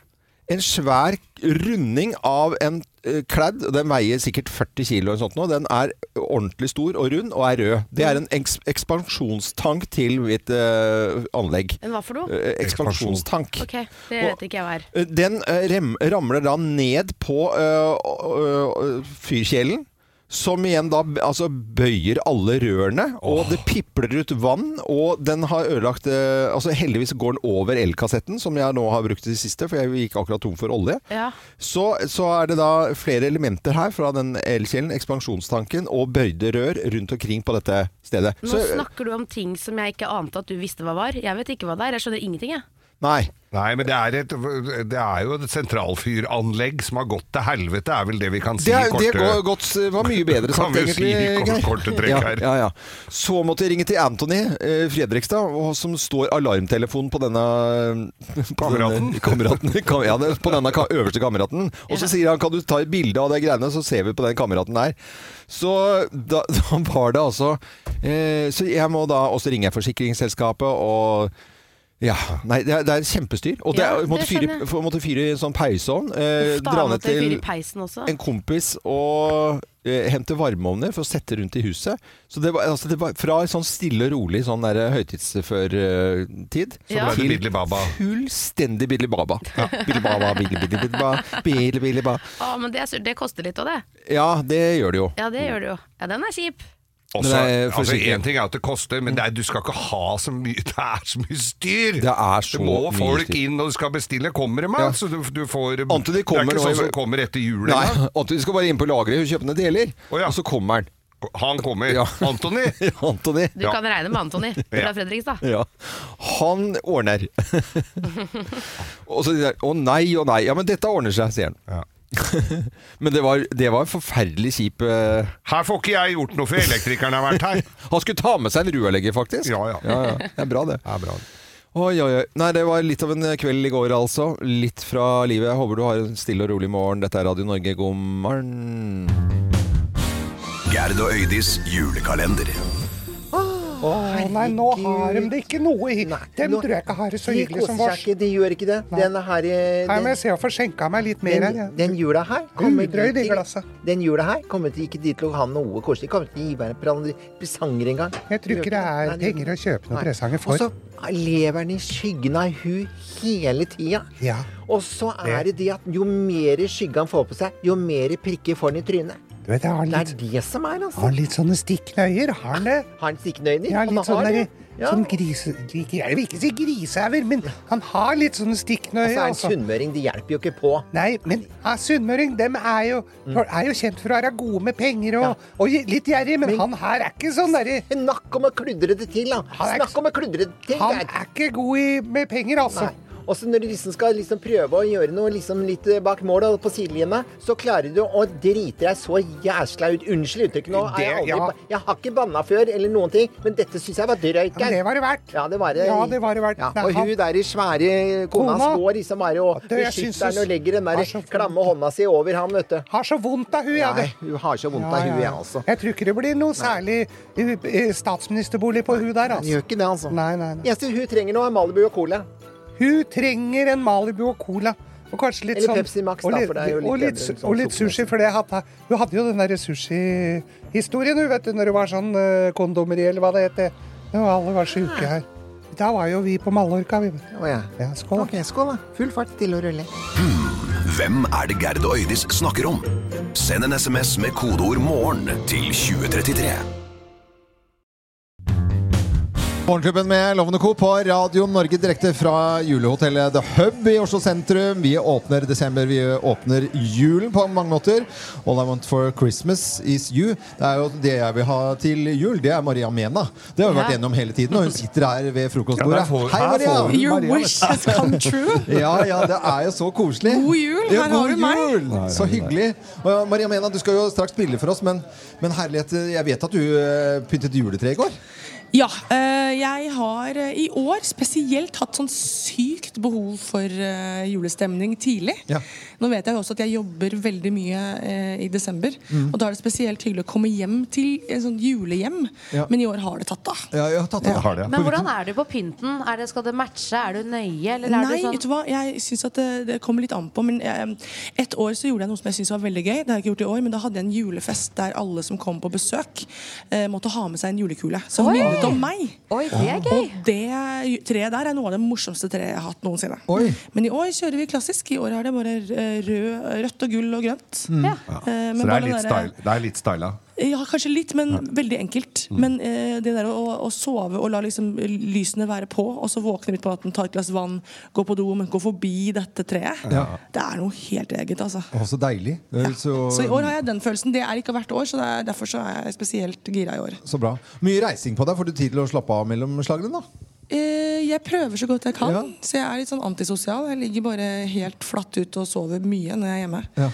en svær runding av en eh, kladd. og Den veier sikkert 40 kilo eller sånt nå. Den er ordentlig stor og rund og er rød. Det er en eks ekspansjonstank til mitt eh, anlegg.
Men hva for noe?
Eh, ekspansjonstank.
Ok, det
Og-
vet ikke jeg hva er.
Eh, Den eh, rem, ramler da ned på eh, ø- ø- fyrkjelen. Som igjen da b- altså bøyer alle rørene, og det pipler ut vann. Og den har ødelagt eh, altså Heldigvis går den over elkassetten, som jeg nå har brukt i det siste, for jeg gikk akkurat tom for olje.
Ja.
Så, så er det da flere elementer her fra den elkjelen, ekspansjonstanken og bøyde rør rundt omkring på dette stedet.
Nå
Så, eh,
snakker du om ting som jeg ikke ante at du visste hva var. Jeg vet ikke hva det er, jeg skjønner ingenting, jeg.
nei.
Nei, men det er, et, det er jo et sentralfyranlegg som har gått til helvete, er vel det vi kan si
Det, er,
i
det
korte
går godt, var mye bedre sagt,
Kan vi jo si
egentlig.
i
Geir.
kort- korte trekk her.
Ja, ja, ja. Så måtte jeg ringe til Anthony eh, Fredrikstad, og- som står alarmtelefonen på denne på
Kameraten.
Denne, kameraten kam, ja, det- på denne ka, øverste kameraten. Og så sier han kan du ta et bilde av de greiene, så ser vi på den kameraten der. Så da, da var det altså eh, Så jeg må da Og så ringer jeg forsikringsselskapet og ja, Nei, det er, det er kjempestyr. Og det,
Ja,
er-
det
måtte, fyre,
skjønner jeg.
for- måtte fyre i en sånn pauseovn. Eh,
Uff, da
dra ned
måtte jeg fyre
til
i peisen også.
en kompis og eh, hente varmeovner for å sette rundt i huset. Så det var, altså det var fra en sånn stille og rolig sånn der høytidsførtid
Så ble det
til
Bidli Baba.
fullstendig Bidli Baba. Ja. Bidli Baba, Bidli Bidli Bidli Baba, Bidli Bidli Baba.
Å, men det, er sur- det koster litt òg, det.
Ja, det gjør det jo.
Ja, det gjør det jo. Ja, den er kjip.
Også,
Men det er
altså,
forsiktig.
en ting er at det koster, men det er, du skal ikke ha så mye Det er så mye styr!
Det er så
Det må
mye
folk
styr.
inn og skal bestille. Kommer det mat? Så du, du får
Antony
Det er
kommer
ikke
nå i-
sånn som kommer etter jul
Nei,
engang.
Antony skal bare inn på lageret og kjøpe ned deler,
Å, ja.
og så kommer han.
Han kommer.
Ja.
Antony!
Antony.
Du
Ja.
kan regne med Antony fra
Ja.
Fredrikstad.
Ja. Han ordner. og så sier han å nei, å nei. Ja, men dette ordner seg, sier han.
Ja.
Men det var, det var en forferdelig kjip eh,
Her får ikke jeg gjort noe, for elektrikeren har vært her.
Han skulle ta med seg en rørlegger, faktisk.
Ja, ja.
Det er bra, det.
Det er bra.
Å,
Oi, oi, oi. Nei, det var litt av en kveld i går, altså. Litt fra livet. Jeg håper du har en stille og rolig morgen. Dette er Radio Norge, god morgen.
Gerd og Øydis julekalender.
nei, nå har de det ikke noe i. Dem tror jeg ikke har det så
De
hyggelig som
koser
vårs.
seg ikke, de gjør ikke det.
Nei.
Den her eh,
Nei,
den,
men jeg ser jeg får skjenka meg litt mer her.
den, den jula her kommer
Gudrøyd i
ikke til- Den jula her kommer til ikke dit til å ha noe koselig. De Kommer ikke til å gi meg en pre- presanger engang.
Jeg tror ikke det er
Nei,
penger å kjøpe noen
Nei.
presanger
Og
for.
så lever den i skyggen av hun hele tida.
Ja.
Og så er det det at jo mer skygge han får på seg, jo mer prikker får han i trynet.
Du vet, jeg har
Det
litt,
er det som er, altså.
har litt sånne stikknøyer. Har han det?
Har han stikkende øyne?
Ja,
Han
litt
har
sånn
det.
der,
Ja.
sånn grise... Ikke, jeg vil ikke si grisehauger, men han har litt sånne
Og
stikknøyer. altså.
så er han Altså, sunnmøring. Det hjelper jo ikke på. Mm.
Nei, men ja, sunnmøring dem er jo, er jo kjent for å være gode med penger og, og gi- litt gjerrig, men, han her er ikke sånn derre
Snakk om å kludre det til, da. Snakk om å kludre det til.
Han
Geir.
er ikke god i, med penger, altså.
Nei. Og så når du liksom skal liksom prøve å gjøre noe liksom litt eh, bak mål og på sidelinja, så klarer du å drite deg så jæsla ut. Unnskyld uttrykket nå. er jeg,
Det-
aldri,
ja.
ba- jeg har ikke banna før eller noen ting, men dette syns jeg var drøyt.
men det var det verdt.
Ja, det var det.
Ja, det var det verdt.
Ja,
Nei,
og
han-
hun der i svære kona
Kona.
står liksom bare og
det- jeg synes
beskytter han
hun-
og legger den
har
der
så vondt.
klamme hånda si over ham, vet du.
Har så vondt av hun, ja.
Nei,
det-
hun har så
Ja,
vondt av altså.
ja,
hun,
ja.
jeg også.
Jeg tror ikke det blir noe særlig eh, eh, statsministerbolig på hun der, altså.
gjør ikke det, altså.
Nei, nei, nei.
Eneste hun trenger nå, er Malibu og cola.
Hun trenger en Malibu og cola. Og kanskje litt
Eller
sånn
Pepsi Max,
og
da,
litt-
for det er jo litt
og litt,
bedre enn sånn
og litt sushi, for det hadde Hun hadde jo den der sushi-historien, hun, vet du, når hun var sånn eh, kondomeri, eller hva det het. det. Når alle var sjuke her. Da var jo vi på Mallorca, vi, vet du.
Å, ja.
Ja, skål.
Ok, skål, da. Full fart, stille og rolig.
Hmm, Hvem er det Gerd og Øydis snakker om? Send en sms med kodeord 'morgen' til 2033.
Morgenklubben med Lovende Co. på Radio Norge direkte fra julehotellet The Hub i Oslo sentrum. Vi åpner desember, vi åpner julen på mange måter. All I want for Christmas is you. Det er jo det jeg vil ha til jul, det er Maria Mena. Det har vi vært
Ja.
gjennom hele tiden, og hun sitter her ved
Ja,
frokostbordet.
der får-
Hei,
her
Maria!
får hun Your Maria, vet du. wish has come true.
ja, ja, det er jo så koselig.
God jul,
Ja,
her har
god
du meg.
jul.
Nei, nei,
Så
nei.
hyggelig. Og ja, Maria Mena, du skal jo straks spille for oss, men, men herlighet, jeg vet at du eh, pyntet juletre i går.
Ja, eh, jeg har eh, i år spesielt hatt sånn sykt behov for eh, julestemning tidlig. Nå vet jeg jo også at jeg jobber veldig mye eh, i desember.
Mm.
Og da er det spesielt hyggelig å komme hjem til et sånt julehjem.
Ja.
Men i år har det tatt av.
Ja, jeg har tatt det.
Ja. Har det, ja.
Men hvordan er du på pynten? Er det, skal det matche? Er du nøye? Eller er
Nei,
du sånn
vet du hva? jeg syns at det, det kommer litt an på. Men eh, et år så gjorde jeg noe som jeg syntes var veldig gøy. Det har jeg ikke gjort i år, men da hadde jeg en julefest der alle som kom på besøk, eh, måtte ha med seg en julekule som
Oi!
minnet om meg.
det er gøy.
Og det treet der er noe av det morsomste treet jeg har hatt noensinne. Men i år kjører vi klassisk. I år er det bare eh, rød, rødt og gull og grønt.
Mm. Ja.
Eh, men
Så det
bare
er
den
litt,
derre-
styl, det er litt styla.
ja, kanskje litt, men veldig enkelt.
Mm.
Men eh, det der å, å sove og la liksom lysene være på, og så våkne midt på natten, ta et glass vann, gå på do, men gå forbi dette treet,
Ja.
det er noe helt eget, altså.
Å, så deilig. Det er Så,
Så i år har jeg den følelsen. Det er ikke hvert år, så det er, derfor så er jeg spesielt gira i år.
så bra. Mye reising på deg. Får du tid til å slappe av mellom slagene, da?
Eh, jeg prøver så godt jeg kan, så jeg er litt sånn antisosial. Jeg ligger bare helt flatt ut og sover mye når jeg er hjemme.
Ja.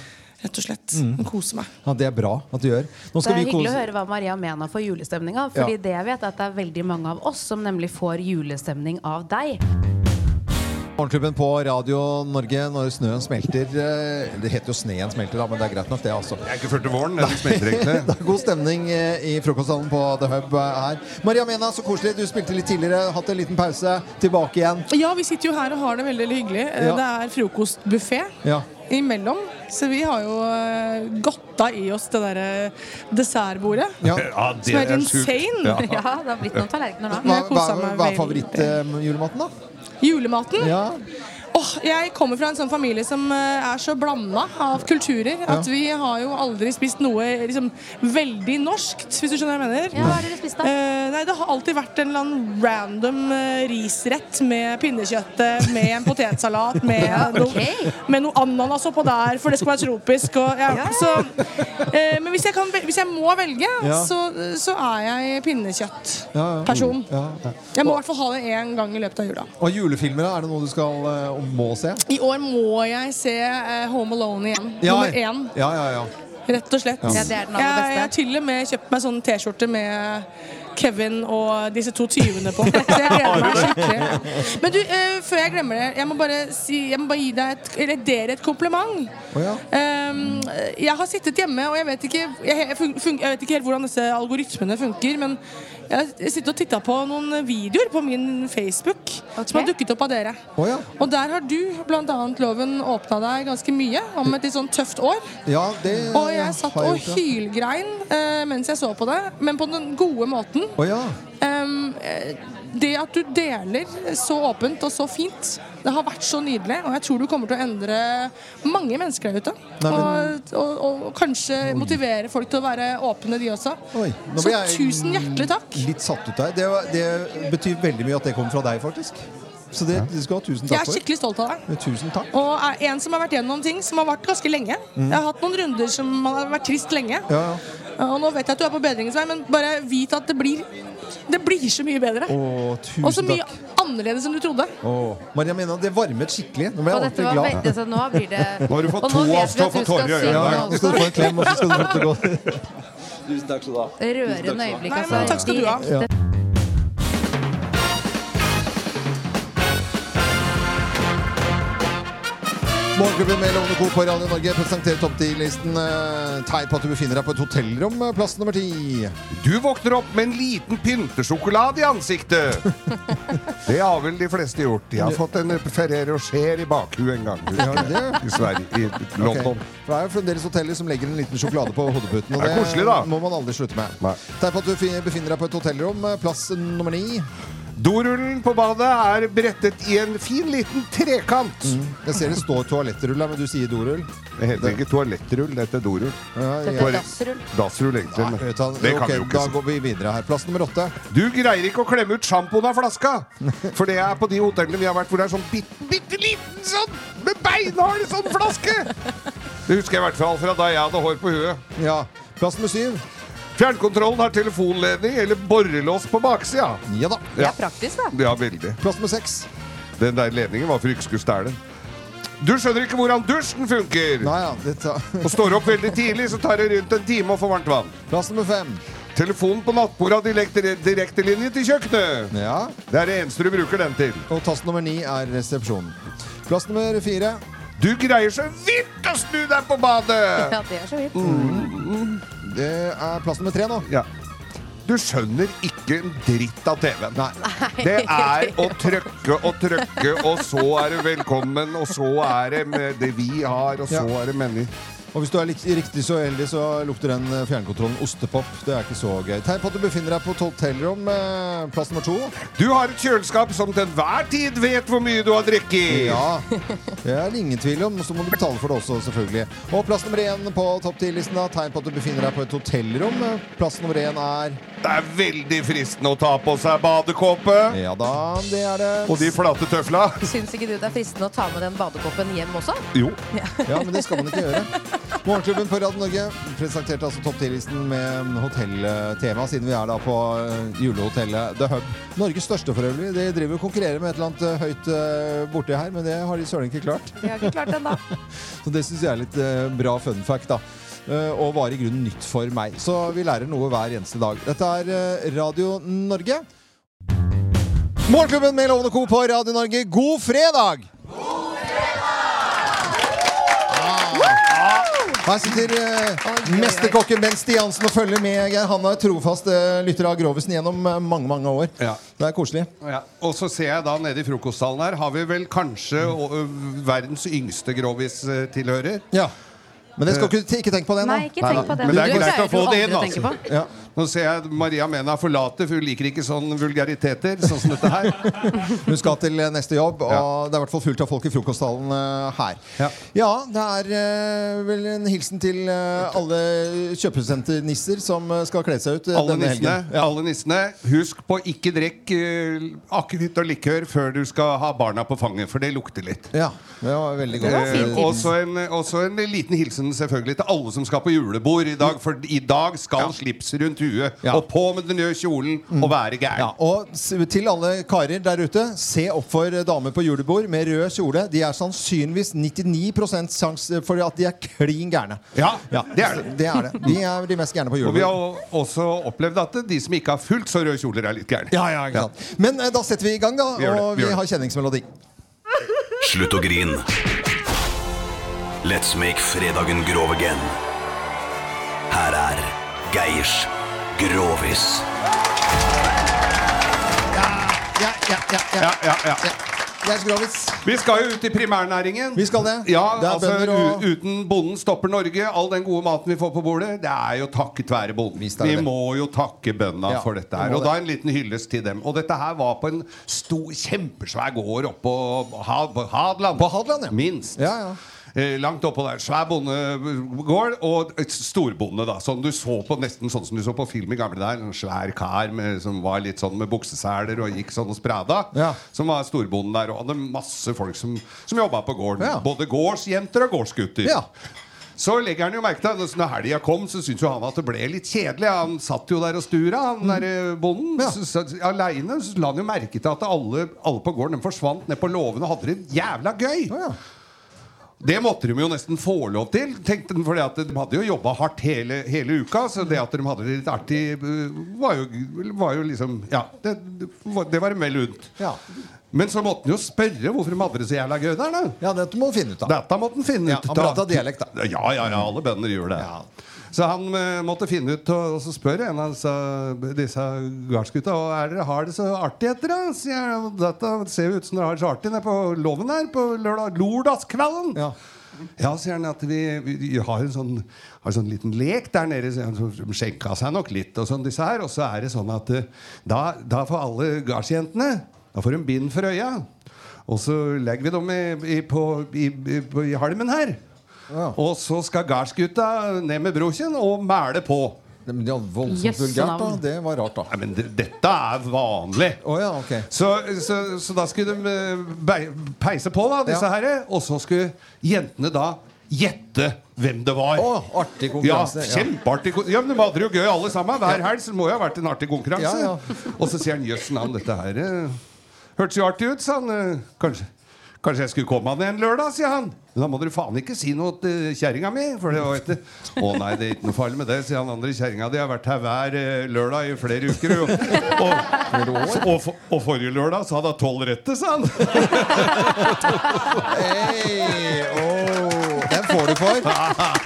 Rett og slett.
Mm.
Men Koser meg.
Ja, det er bra at du gjør. Nå
Det
skal
er
vi
hyggelig å
kose
høre hva Maria mener for julestemninga. Fordi
Ja.
det jeg vet er at det er veldig mange av oss som nemlig får julestemning av deg.
Morgenklubben på Radio Norge når snøen smelter. eh, Det heter jo sneen smelter, da, men det er greit nok, det, altså.
Jeg er ikke ført til våren, den smelter egentlig.
Det er god stemning eh, i frokosthallen på The Hub eh, her. Maria Mena, så koselig. Du spilte litt tidligere, hatt en liten pause. Tilbake igjen.
Ja, vi sitter jo her og har det veldig hyggelig. Eh,
Ja.
Det er frokostbuffé.
Ja.
imellom. Så vi har jo eh, godta i oss det derre dessertbordet.
Ja.
Ja, det Som er er sjukt. insane. Ja. Ja, det har blitt noen tallerkener nå.
Hva,
Jeg
hva,
koser meg
hva er eh,
veldig.
favorittjulematen, da?
Julematen.
Ja.
Åh, jeg kommer fra en sånn familie som eh, er så blanda av kulturer
Ja.
at vi har jo aldri spist noe liksom, veldig norskt, hvis du skjønner hva jeg mener.
Ja, hva har dere spist da?
Eh, nei, det har alltid vært en eller annen random eh, risrett med pinnekjøttet, med en potetsalat, med, noe, med noe ananas oppå der, for det skal være tropisk. Og, ja. så, eh, men hvis jeg, kan, vel- hvis jeg må velge,
Ja.
så, så er jeg pinnekjøttperson.
Ja, ja. Ja.
Jeg må i hvert fall ha det én gang i løpet av jula.
Og julefilmer, da? er det noe du skal eh, og må se?
I år må jeg se eh, Home Alone igjen. Nummer én.
Ja, ja, ja.
Rett og slett.
Ja. Ja, det er den aller
Jeg-
beste.
Jeg har til og med kjøpt meg sånn T-skjorte med Kevin og disse to tyvene på. Så jeg gleder meg skikkelig. Men du, eh, før jeg glemmer det, jeg må bare, si, jeg må bare gi deg et, eller dere et kompliment. Ehm, jeg har sittet hjemme, og jeg vet ikke, jeg, he- fun, fun, jeg vet ikke helt hvordan disse algoritmene funker, men jeg har sittet og titta på noen videoer på min Facebook som har dukket opp av dere.
Å ja.
Og der har du bl.a. loven åpna deg ganske mye om et litt sånn tøft år.
Ja, det
Og jeg satt
har
og
jeg gjort, ja.
hylgrein eh, mens jeg så på det, men på den gode måten.
Å ja.
Ehm, eh, det at du deler så åpent og så fint, det har vært så nydelig. Og jeg tror du kommer til å endre mange mennesker der ute.
Nei, men-
og, og, og kanskje motivere folk til å være åpne, de også.
Nå
Så
ble jeg
tusen hjertelig takk.
Litt satt ut der. Det, var, det betyr veldig mye at det kommer fra deg, faktisk. Så det, du skal ha tusen
Jeg
takk
er
for.
skikkelig stolt av deg.
Tusen takk.
Og er en som har vært gjennom ting som har vart ganske lenge.
Mm.
Jeg har hatt noen runder som har vært trist lenge.
Ja, ja.
Og nå vet jeg at du er på bedringens vei, men bare vit at det blir Det blir så mye bedre.
Å, tusen
Og så mye
takk.
annerledes enn du trodde.
Å, Maria Mena, det varmet skikkelig. Nå ble
Og
jeg
dette
ordentlig
var
glad.
veldig, så nå blir det
Nå har du fått
Og nå
to
vet
av
vi at
Staff og
du skal
Torje i
synge
øynene.
også.
Nå skal du få en klem, og så skal du få lov til å gå. Tusen takk skal du ha.
Rørende øyeblikk,
Nei, men
altså.
takk skal du ha.
Direkte.
Morgenklubben med Lovende Co. på Radio Norge presenterer topp 10-listen. Eh, Tegn på at du befinner deg på et hotellrom. eh, Plass nummer ti.
Du våkner opp med en liten pyntesjokolade i ansiktet. Det har vel de fleste gjort. Jeg har fått en Ferrero Rocher i bakhuet en gang.
Ja, det-
I Sverige, i London.
Ok. For det er jo fremdeles hoteller som legger en liten sjokolade på hodeputen. Og
Det er koselig, da.
må man aldri slutte med. Tegn på at du fi- befinner deg på et hotellrom. eh, Plass nummer ni.
Dorullen på badet er brettet i en fin, liten trekant.
Mm. Jeg ser det står toalettrull her, men du sier dorull.
Det heter ikke toalettrull, det heter dorull.
Dette er
Toalett-
dassrull.
Dassrull, egentlig. men
Vet du hva,
det kan
ok,
vi jo ikke
da
si.
går vi videre her. Plass nummer åtte.
Du greier ikke å klemme ut sjampoen av flaska! For det er på de hotellene vi har vært hvor det er sånn bitte bitte liten sånn med beinhard sånn flaske! Det husker jeg i hvert fall fra da jeg hadde hår på huet.
Ja, Plass nummer syv.
Fjernkontrollen har telefonledning eller borrelås på baksida.
Ja da.
Ja,
Praktisk, da.
veldig.
Plass nummer seks.
Den der ledningen var for ikke skulle stjele den. Du skjønner ikke hvordan dusjen funker!
Nei, ja, dette...
Og står opp veldig tidlig, så tar det rundt en time å få varmt vann.
Plass nummer fem.
Telefonen på nattbordet har direkte- direktelinje til kjøkkenet.
Ja.
Det er det eneste du bruker den til.
Og tast nummer ni er resepsjonen. Plass nummer fire.
Du greier så vidt å snu deg på
Eh.
badet!
Ja, det er så vidt.
Mm. Det er plass nummer tre nå.
Ja. Du skjønner ikke en dritt av TV-en.
Nei.
Det er å trykke og trykke, og så er det velkommen, og så er det med det vi har, og så er det meny.
Og hvis du er litt, riktig så heldig, så lukter den eh, fjernkontrollen ostepop. Det er ikke så gøy. Tegn på at du befinner deg på et hotellrom. eh, Plass nummer to.
Du har et kjøleskap som til enhver tid vet hvor mye du har drukket i.
Ja, det er det ingen tvil om. Så må du betale for det også, selvfølgelig. Og plass nummer én på topp 10-listen. da. Tegn på at du befinner deg på et hotellrom. Eh, Plass nummer én er
Det er veldig fristende å ta på seg badekåpe.
Ja da, det er det.
Og de flate tøfla.
Syns ikke du det er fristende å ta med den badekoppen hjem også?
Jo.
Ja, men det skal man ikke gjøre. Morgenklubben på Radio Norge presenterte altså topp 10-listen med hotelltema, siden vi er da på eh, julehotellet The Hub. Norges største for øvrig. De driver og konkurrerer med et eller annet eh, høyt eh, borti her, men det har de søren ikke klart.
Vi har ikke klart den, da.
Så det syns jeg er litt eh, bra fun fact, da. Eh, og var i grunnen nytt for meg. Så vi lærer noe hver eneste dag. Dette er eh, Radio Norge. Morgenklubben med Lovende Co. på Radio Norge, god fredag! Her sitter eh, mesterkokken Ben Stiansen og følger med. Geir. Han er trofast eh, lytter av Grovisen gjennom eh, mange mange år. Det er koselig.
Ja. Og så ser jeg da nede i frokostsalen her, har vi vel kanskje
Mm.
å, ø, verdens yngste grovis-tilhører?
Ja. Men det skal ikke, ikke tenke på det nå.
Nei, ikke tenk på det. Men det er
Du
greit å
pleier
få
jo
det inn,
aldri å
altså.
tenke på. Ja.
Nå ser jeg Maria Mena forlater, for hun liker ikke sånne vulgariteter. Sånn som dette her.
Hun skal til eh, neste jobb, og det er i hvert fall fullt av folk i frokosthallen eh, her. Ja. det er eh, vel en hilsen til eh, alle kjøpesenternisser som eh, skal kle seg ut eh,
Alle
denne
nissene,
helgen.
alle nissene, husk på ikke drikk eh, akevitt og likør før du skal ha barna på fanget, for det lukter litt.
Ja, det var veldig godt.
Eh, og så en, også en liten hilsen selvfølgelig til alle som skal på julebord i dag. For i dag skal slips rundt tue, og på med den røde kjolen, og være
Mm.
gæren.
Ja, og s- til alle karer der ute, se opp for damer på julebord med rød kjole. De er sannsynligvis 99 sjanse for eh, at de er klin gærne.
Ja, det er
det. er det. De er de mest gærne på
Og vi
julebord.
har o- også opplevd at de som ikke har fullt så røde kjoler, er litt gærne.
Ja, ja, ikke sant. Men eh, da setter vi i gang, da.
Vi gjør det,
og
vi
vi
gjør det.
har kjenningsmelodi.
Slutt å grine. Let's make fredagen grov again. Her er Geirs Grovis.
Ja, ja, ja.
Ja, ja, ja.
Jeg skal Grovis.
Vi skal jo ut i primærnæringen.
Vi skal det.
Ja,
Det er
altså
bønder og-
u- Uten bonden stopper Norge. All den gode maten vi får på bordet, det er jo takket være bonden.
skal
Vi
det.
må jo takke bøndene
Ja,
for dette
vi
her.
må det.
Og da en liten hyllest til dem. Og dette her var på en stor, kjempesvær gård oppå Ha- på Hadeland. På Hadeland, ja. Minst. Eh, Langt oppå der. Svær bondegård og et storbonde, da. Som du så på nesten sånn som du så på film i gamle dager. En svær kar med, som var litt sånn med bukseseler og gikk sånn og sprada. Som var storbonden der. Og hadde masse folk som, som jobba på gården. Både gårdsjenter og gårdsgutter. Så legger han jo merke til at når helga kom, så syntes jo han at det ble litt kjedelig. Han satt jo der og stura,
Mm.
han der eh, bonden. Så, så, alene, så la han jo merke til at alle, alle på gården de forsvant ned på låven og hadde det jævla gøy. Det måtte de jo nesten få lov til, tenkte han, fordi at de hadde jo jobba hardt hele, hele uka. Så det at de hadde det litt artig, eh, var jo, var jo liksom Ja, det, det var- det var dem vel unt.
Ja.
Men så måtte han jo spørre hvorfor de hadde det så jævla gøy der. da
Ja, dette må han finne ut av.
Dette måtte han finne
Ja,
ut
han pratet dialekt,
da. Ja, ja, ja, alle bønder gjør det. Så han eh, måtte finne ut, og, og så spør en av disse, disse gardsgutta «Å, er dere har det så artig etter det. Sier jeg, «Og Dette ser jo ut som dere har det så artig nede på låven her på lørdag, lørdagskvelden. Ja. sier han at vi, vi, vi har en sånn, har en sånn liten lek der nede. sier han, så De skjenka seg nok litt, og sånn disse her. Og så er det sånn at eh, da, da får alle gardsjentene Da får de bind for øya. Og så legger vi dem i, i, på, i, i, på, i halmen her. Og så skal gardsgutta ned med broken og mæle på.
Men det var voldsomt
Jøsse
vulgært, da.
navn.
Det var rart, da.
Nei, men det, dette er vanlig. så, så, så da skulle de eh, bei- peise på, da, disse
Ja.
herre. Og så skulle jentene da gjette hvem det var.
artig konkurranse,
Ja,
ja.
kjempeartig kon- ja, men De hadde det jo gøy, alle sammen. Hver helg. Så det må jo ha vært en artig konkurranse.
Ja, ja.
Og så sier han jøss navn, dette her eh, hørtes jo artig ut, sa han. eh, Kanskje, kanskje jeg skulle komme ned en lørdag, sier han. Men da må dere faen ikke si noe til eh, kjerringa mi. For det var etter Å nei, det er ikke noe farlig med det, sier han andre kjerringa. De har vært her hver eh, lørdag i flere uker. jo. Og, og, og, for- og forrige lørdag så hadde hun tolv rette, sa han.
Hey, oh, den får du for.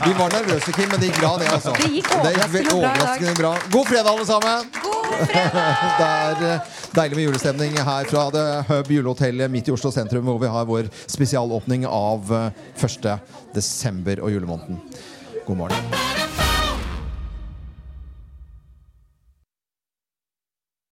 Vi var nervøse, Kim, men det gikk bra, det. altså
Det gikk overraskende bra i
ve-
dag.
overraskende bra. God fredag, alle sammen! det er eh, deilig med julestemning her fra The Hub julehotellet midt i Oslo sentrum, hvor vi har vår spesialåpning av eh, 1. desember og julemåneden. God morgen.